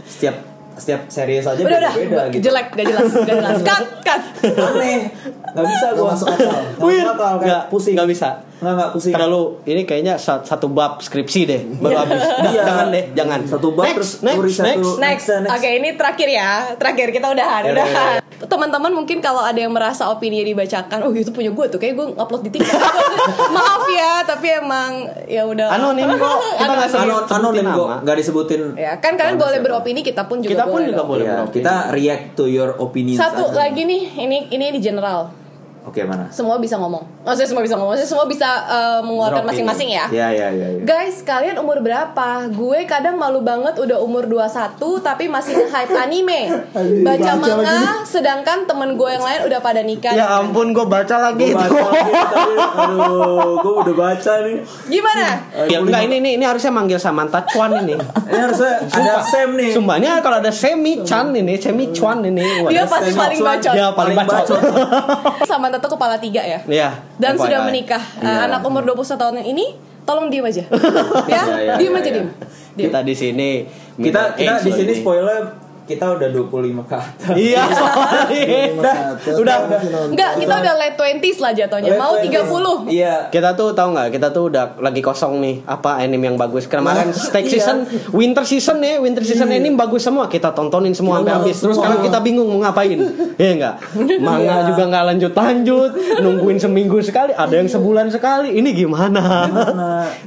Speaker 2: Setiap setiap series aja
Speaker 1: Udah udah,
Speaker 2: beda-beda gitu.
Speaker 1: jelek, gak jelas, gak
Speaker 2: [laughs]
Speaker 1: jelas. Cut, cut.
Speaker 2: Aneh. Nggak bisa
Speaker 4: Nggak
Speaker 2: gua
Speaker 4: masuk akal.
Speaker 2: Nggak masuk akal, kayak
Speaker 5: Nggak,
Speaker 2: pusing.
Speaker 5: nggak bisa.
Speaker 2: Nggak, nggak, pusing.
Speaker 5: Terlalu ini kayaknya sa- satu bab skripsi deh baru habis. Udah,
Speaker 2: Iya.
Speaker 5: Jangan deh, jangan.
Speaker 2: Satu bab,
Speaker 5: Next,
Speaker 2: terus
Speaker 5: next,
Speaker 2: tulis satu-
Speaker 5: next.
Speaker 1: Next,
Speaker 2: Next, next.
Speaker 1: oke ini terakhir ya, terakhir kita udahan,
Speaker 2: Ya,
Speaker 1: udahan.
Speaker 2: ya,
Speaker 1: Teman-teman mungkin kalau ada yang merasa opini dibacakan, oh itu punya gue tuh, kayak gue upload di TikTok. [laughs] Maaf ya, tapi emang ya udah. Anu.
Speaker 5: Anonim Anu, kok.
Speaker 1: [laughs]
Speaker 5: Kita nggak
Speaker 2: Ano,
Speaker 5: sebut- sebutin
Speaker 2: anonim kok,
Speaker 5: nama.
Speaker 2: nggak disebutin.
Speaker 1: Ya kan kalian
Speaker 2: Nama
Speaker 1: boleh
Speaker 2: siapa.
Speaker 1: beropini, kita pun juga
Speaker 5: Kita pun
Speaker 1: boleh.
Speaker 5: juga
Speaker 1: dong.
Speaker 5: Eh, boleh
Speaker 2: Iya,
Speaker 5: beropini.
Speaker 2: kita react to your opinion.
Speaker 1: Satu lagi nih, ini ini di general.
Speaker 2: Oke, mana?
Speaker 1: Semua bisa ngomong. Maksudnya semua bisa ngomong. Maksudnya semua bisa eh, mengeluarkan
Speaker 5: Beropini.
Speaker 1: masing-masing ya.
Speaker 2: Ya, ya, ya. ya.
Speaker 1: Guys, kalian umur berapa? Gue kadang malu banget udah umur 21 tapi masih nge-hype anime.
Speaker 4: [laughs] Anjing,
Speaker 1: Baca
Speaker 4: baca
Speaker 1: manga,
Speaker 4: lagi.
Speaker 1: sedangkan temen gue yang lain udah pada nikah.
Speaker 5: Ya ampun, gue baca
Speaker 2: Gua
Speaker 5: lagi. itu.
Speaker 2: baca lagi, tapi, aduh, gue udah baca nih.
Speaker 5: [laughs]
Speaker 1: Gimana?
Speaker 5: Ya enggak ini ini ini harusnya manggil Samantha Chuan
Speaker 1: [laughs]
Speaker 5: ini.
Speaker 2: Ini harusnya ada Sam nih.
Speaker 5: Sumbanya kalau ada Semi Chan ini, Semi Chuan ini. waduh.
Speaker 1: Dia pasti
Speaker 2: Sam
Speaker 1: paling
Speaker 2: Chuan.
Speaker 1: bacot.
Speaker 5: Dia paling bacot.
Speaker 1: Sama Tato kepala tiga ya.
Speaker 5: Iya.
Speaker 1: Dan
Speaker 5: FYI.
Speaker 1: sudah menikah. Eh,
Speaker 2: Iya.
Speaker 1: anak umur 21 tahun yang ini tolong diem aja. ya,
Speaker 2: Iya, iya,
Speaker 1: diem
Speaker 2: iya,
Speaker 1: aja
Speaker 2: iya.
Speaker 1: diem. Diem.
Speaker 5: Kita di sini
Speaker 2: Kita
Speaker 5: middle
Speaker 2: kita
Speaker 5: age
Speaker 2: di sini
Speaker 5: ini.
Speaker 2: spoiler kita udah 25 ke atas. [laughs]
Speaker 5: Iya, soalnya. udah, udah.
Speaker 1: Enggak, kita udah late 20s lah jatuhnya. Mau 30.
Speaker 2: Iya.
Speaker 5: Kita tuh tahu nggak? Kita tuh udah lagi kosong nih. Apa anime yang bagus? Kemarin
Speaker 4: Nah,
Speaker 5: steak
Speaker 4: iya.
Speaker 5: season, winter season ya, winter season ini bagus semua. Kita tontonin semua sampai
Speaker 4: Iya,
Speaker 5: habis. Terus
Speaker 4: semua.
Speaker 5: sekarang kita bingung mau ngapain? Iya nggak? Manga
Speaker 2: Iya.
Speaker 5: juga nggak lanjut-lanjut. Nungguin seminggu sekali. Ada yang sebulan sekali. Ini gimana?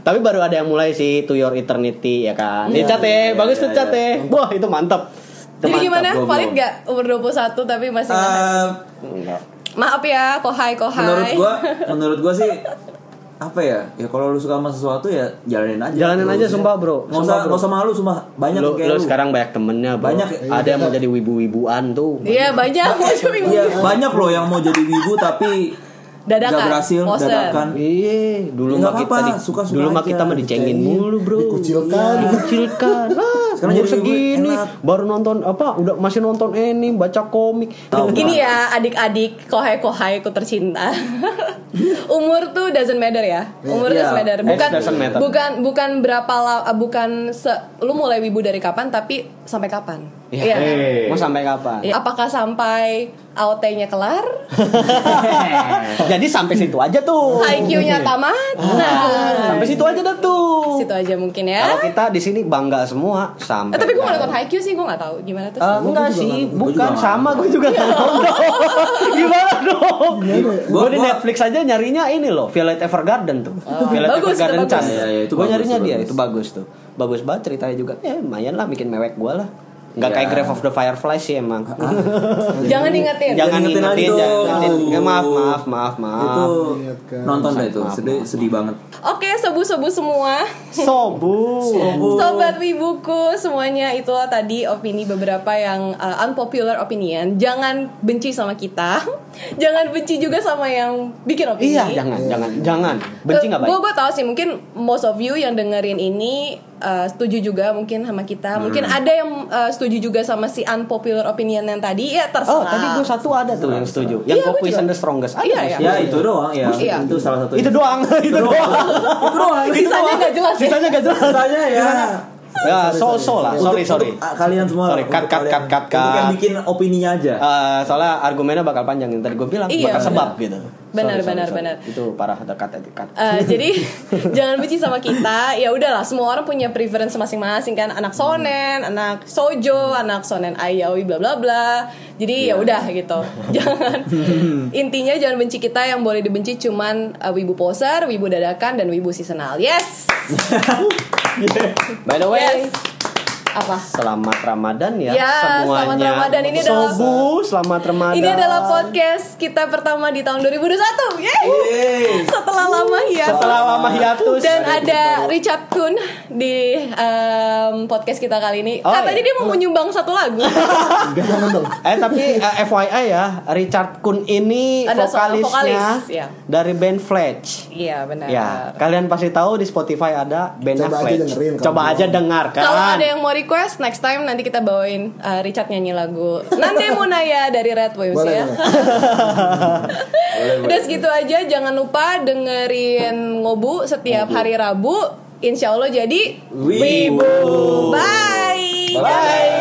Speaker 5: Tapi baru ada yang mulai sih To Your Eternity ya kan. Ini cat ya,
Speaker 2: iya,
Speaker 5: bagus
Speaker 2: iya,
Speaker 5: tuh cat
Speaker 2: iya.
Speaker 5: ya. Wah itu mantap. Itu
Speaker 1: Jadi
Speaker 5: mantap,
Speaker 1: gimana?
Speaker 5: gua
Speaker 1: Valid
Speaker 5: belum.
Speaker 1: gak umur 21 tapi masih nge-hype?
Speaker 2: Eh,
Speaker 5: Enggak.
Speaker 1: Maaf ya, kohai kohai.
Speaker 2: menurut
Speaker 1: [laughs]
Speaker 2: gua, menurut gua sih apa ya? Ya kalau lu suka sama sesuatu ya jalanin aja.
Speaker 5: Jalanin
Speaker 2: Terus
Speaker 5: aja,
Speaker 2: ya.
Speaker 5: sumpah, bro.
Speaker 2: Nggak
Speaker 5: Sumpah,
Speaker 2: usah
Speaker 5: bro.
Speaker 2: nggak usah malu sumpah banyak
Speaker 5: Lu,
Speaker 2: yang kayak
Speaker 5: lu
Speaker 1: [laughs]
Speaker 5: sekarang banyak iya. temennya bro.
Speaker 2: Banyak.
Speaker 5: Ada yang mau jadi wibu-wibuan tuh
Speaker 1: Iya
Speaker 2: [laughs]
Speaker 1: banyak mau minggu.
Speaker 2: Iya, banyak loh yang mau jadi wibu tapi
Speaker 1: Dadakan,
Speaker 2: nggak berhasil,
Speaker 1: bosen.
Speaker 2: dadakan.
Speaker 5: Iya,
Speaker 2: Ya,
Speaker 5: dulu mah
Speaker 2: nggak
Speaker 5: kita
Speaker 2: apa-apa,
Speaker 5: di-
Speaker 2: suka-suka
Speaker 5: dulu mah
Speaker 2: aja.
Speaker 5: kita mah dicengin
Speaker 4: Dicengin,
Speaker 5: mulu, Bro.
Speaker 4: dikucilkan.
Speaker 5: Iya, gitu. [laughs] dikucilkan. Lah,
Speaker 2: Sekarang
Speaker 5: umur
Speaker 2: jadi wibu,
Speaker 5: segini
Speaker 2: enak.
Speaker 5: baru nonton apa udah masih nonton anime, baca komik.
Speaker 2: Tahu.
Speaker 1: Gini ya adik-adik kohai kohai ku
Speaker 5: [laughs]
Speaker 1: tercinta. Umur tuh doesn't matter ya. Umur
Speaker 2: Iya.
Speaker 1: doesn't matter.
Speaker 5: Age
Speaker 1: Bukan
Speaker 5: doesn't matter.
Speaker 1: bukan bukan berapa la, eh, bukan se, lu mulai wibu dari kapan tapi sampai kapan?
Speaker 5: Ya,
Speaker 1: Iya.
Speaker 2: Eh.
Speaker 5: Mau sampai kapan?
Speaker 1: Iya. Apakah sampai AOT-nya kelar?
Speaker 5: [laughs] Jadi sampai situ aja tuh.
Speaker 1: IQ-nya tamat? Nah,
Speaker 5: Sampai situ aja dah tuh.
Speaker 1: situ aja mungkin
Speaker 5: Ah. Kalau
Speaker 1: ya.
Speaker 5: kita di sini bangga semua
Speaker 1: Eh,
Speaker 5: sampai.
Speaker 1: tapi gue gak nonton IQ sih, gue gak tahu gimana tuh.
Speaker 5: Eh, enggak
Speaker 4: juga
Speaker 5: sih,
Speaker 4: nggak-
Speaker 2: gua juga
Speaker 5: bukan
Speaker 2: nggak Iya,
Speaker 5: sama gue juga nggak nonton. [laughs] Gimana dong? Gue
Speaker 2: Gua-
Speaker 5: di
Speaker 2: gua-
Speaker 5: Netflix aja nyarinya ini loh, Violet Evergarden tuh. Violet
Speaker 1: bagus, itu
Speaker 5: Evergarden
Speaker 1: bagus.
Speaker 5: Chan.
Speaker 2: Iya, iya, itu
Speaker 5: Gue
Speaker 2: bagus,
Speaker 5: nyarinya
Speaker 2: itu
Speaker 5: dia,
Speaker 2: bagus.
Speaker 5: itu bagus tuh. Bagus banget ceritanya juga. Ya, lumayan lah bikin mewek gue lah.
Speaker 2: Iya.
Speaker 5: Gak
Speaker 2: Ah.
Speaker 5: kayak Grave of the Fireflies sih emang.
Speaker 1: Jangan
Speaker 5: [laughs]
Speaker 1: diingetin.
Speaker 5: Jangan
Speaker 2: Ingetin lagi
Speaker 5: ngingetin,
Speaker 2: dong.
Speaker 5: jangan ngingetin. Ya, maaf, maaf, maaf, maaf.
Speaker 2: Itu
Speaker 4: Ingatkan.
Speaker 2: nonton deh
Speaker 5: Maaf,
Speaker 2: itu,
Speaker 5: kan. maaf,
Speaker 2: sedih
Speaker 5: maaf.
Speaker 2: sedih banget.
Speaker 1: Oke, sebu-sebu semua.
Speaker 5: Sobu.
Speaker 1: Sobat Wibuku, semuanya itulah tadi opini beberapa yang uh, unpopular opinion. Jangan benci sama kita. [laughs] jangan benci juga sama yang bikin opini. Eh,
Speaker 5: Iya, jangan, jangan, jangan. Benci
Speaker 2: Eh,
Speaker 5: nggak
Speaker 1: Gue
Speaker 5: baik.
Speaker 1: gue tau sih mungkin most of you yang dengerin ini uh, setuju juga mungkin sama kita. Mungkin
Speaker 5: Hmm.
Speaker 1: ada yang uh, setuju juga sama si unpopular opinion yang tadi. Ya terserah.
Speaker 5: Oh, tadi gue satu ada tuh yang setuju. Yang
Speaker 1: Iya, gua
Speaker 5: Goku is
Speaker 1: juga.
Speaker 5: the strongest. Ada
Speaker 1: Iya,
Speaker 5: nggak
Speaker 1: iya.
Speaker 5: sih?
Speaker 2: Ya itu doang ya.
Speaker 1: Iya.
Speaker 2: Itu salah satu.
Speaker 5: Itu doang, itu doang. Itu doang.
Speaker 1: Sisanya nggak jelas ya?
Speaker 5: Sisanya nggak jelas.
Speaker 2: Sisanya ya.
Speaker 5: [laughs] Ya, so so lah. Sorry,
Speaker 2: Untuk-
Speaker 5: sorry.
Speaker 2: untuk, ah, kalian semua.
Speaker 5: Sorry,
Speaker 2: untuk
Speaker 5: cut, cut,
Speaker 2: kalian.
Speaker 5: cut, cut,
Speaker 2: Untuk yang
Speaker 5: cut.
Speaker 2: bikin opininya aja.
Speaker 5: Eh, soalnya argumennya bakal panjang yang tadi gue bilang
Speaker 1: Iya,
Speaker 5: bakal
Speaker 1: benar.
Speaker 5: sebab gitu.
Speaker 1: Benar,
Speaker 5: Sorry, sorry,
Speaker 1: benar,
Speaker 5: sorry.
Speaker 1: benar.
Speaker 5: Itu parah dekat dekat.
Speaker 1: Eh, jadi [laughs] jangan benci sama kita. Ya udahlah, semua orang punya preference masing-masing kan. Anak sonen, anak sojo, anak sonen ayawi, bla bla bla. Jadi ya udah gitu. [laughs] Jangan intinya jangan benci kita yang boleh dibenci cuman eh, wibu poser, wibu dadakan dan wibu seasonal. Yes.
Speaker 5: By the way,
Speaker 1: Yes. Apa?
Speaker 5: selamat Ramadan ya,
Speaker 1: Ya,
Speaker 5: semuanya.
Speaker 1: selamat Ramadan. Ini adalah-
Speaker 5: Sobu, selamat Ramadan.
Speaker 1: Ini adalah podcast kita pertama di tahun 2021. Yeay.
Speaker 2: Yeay.
Speaker 1: Setelah lama ya.
Speaker 5: setelah lama hiatus.
Speaker 1: Dan ada Richard Kun di em, podcast kita kali ini.
Speaker 5: Oh,
Speaker 1: Katanya
Speaker 5: iya.
Speaker 1: dia mau menyumbang satu lagu.
Speaker 4: Jangan dong.
Speaker 5: Eh tapi eh, FYI ya, Richard Kun ini
Speaker 1: Ada seorang
Speaker 5: vokalisnya
Speaker 1: vokalis, ya.
Speaker 5: dari band Fletch.
Speaker 1: Iya benar.
Speaker 5: Ya, kalian pasti tahu di Spotify ada band
Speaker 4: Coba aja
Speaker 5: Fletch.
Speaker 4: dengerin, kalau
Speaker 5: Coba
Speaker 4: belum.
Speaker 5: aja dengarkan.
Speaker 1: Kalau ada yang mau request next time nanti kita bawain eh, Richard nyanyi lagu. Nanti Munaya dari Red Waves
Speaker 4: Boleh,
Speaker 1: ya.
Speaker 4: boleh.
Speaker 1: Udah segitu aja jangan lupa dengerin ngobu setiap hari Rabu. Insya Allah jadi
Speaker 2: Wibu.
Speaker 1: Bye.
Speaker 5: Bye.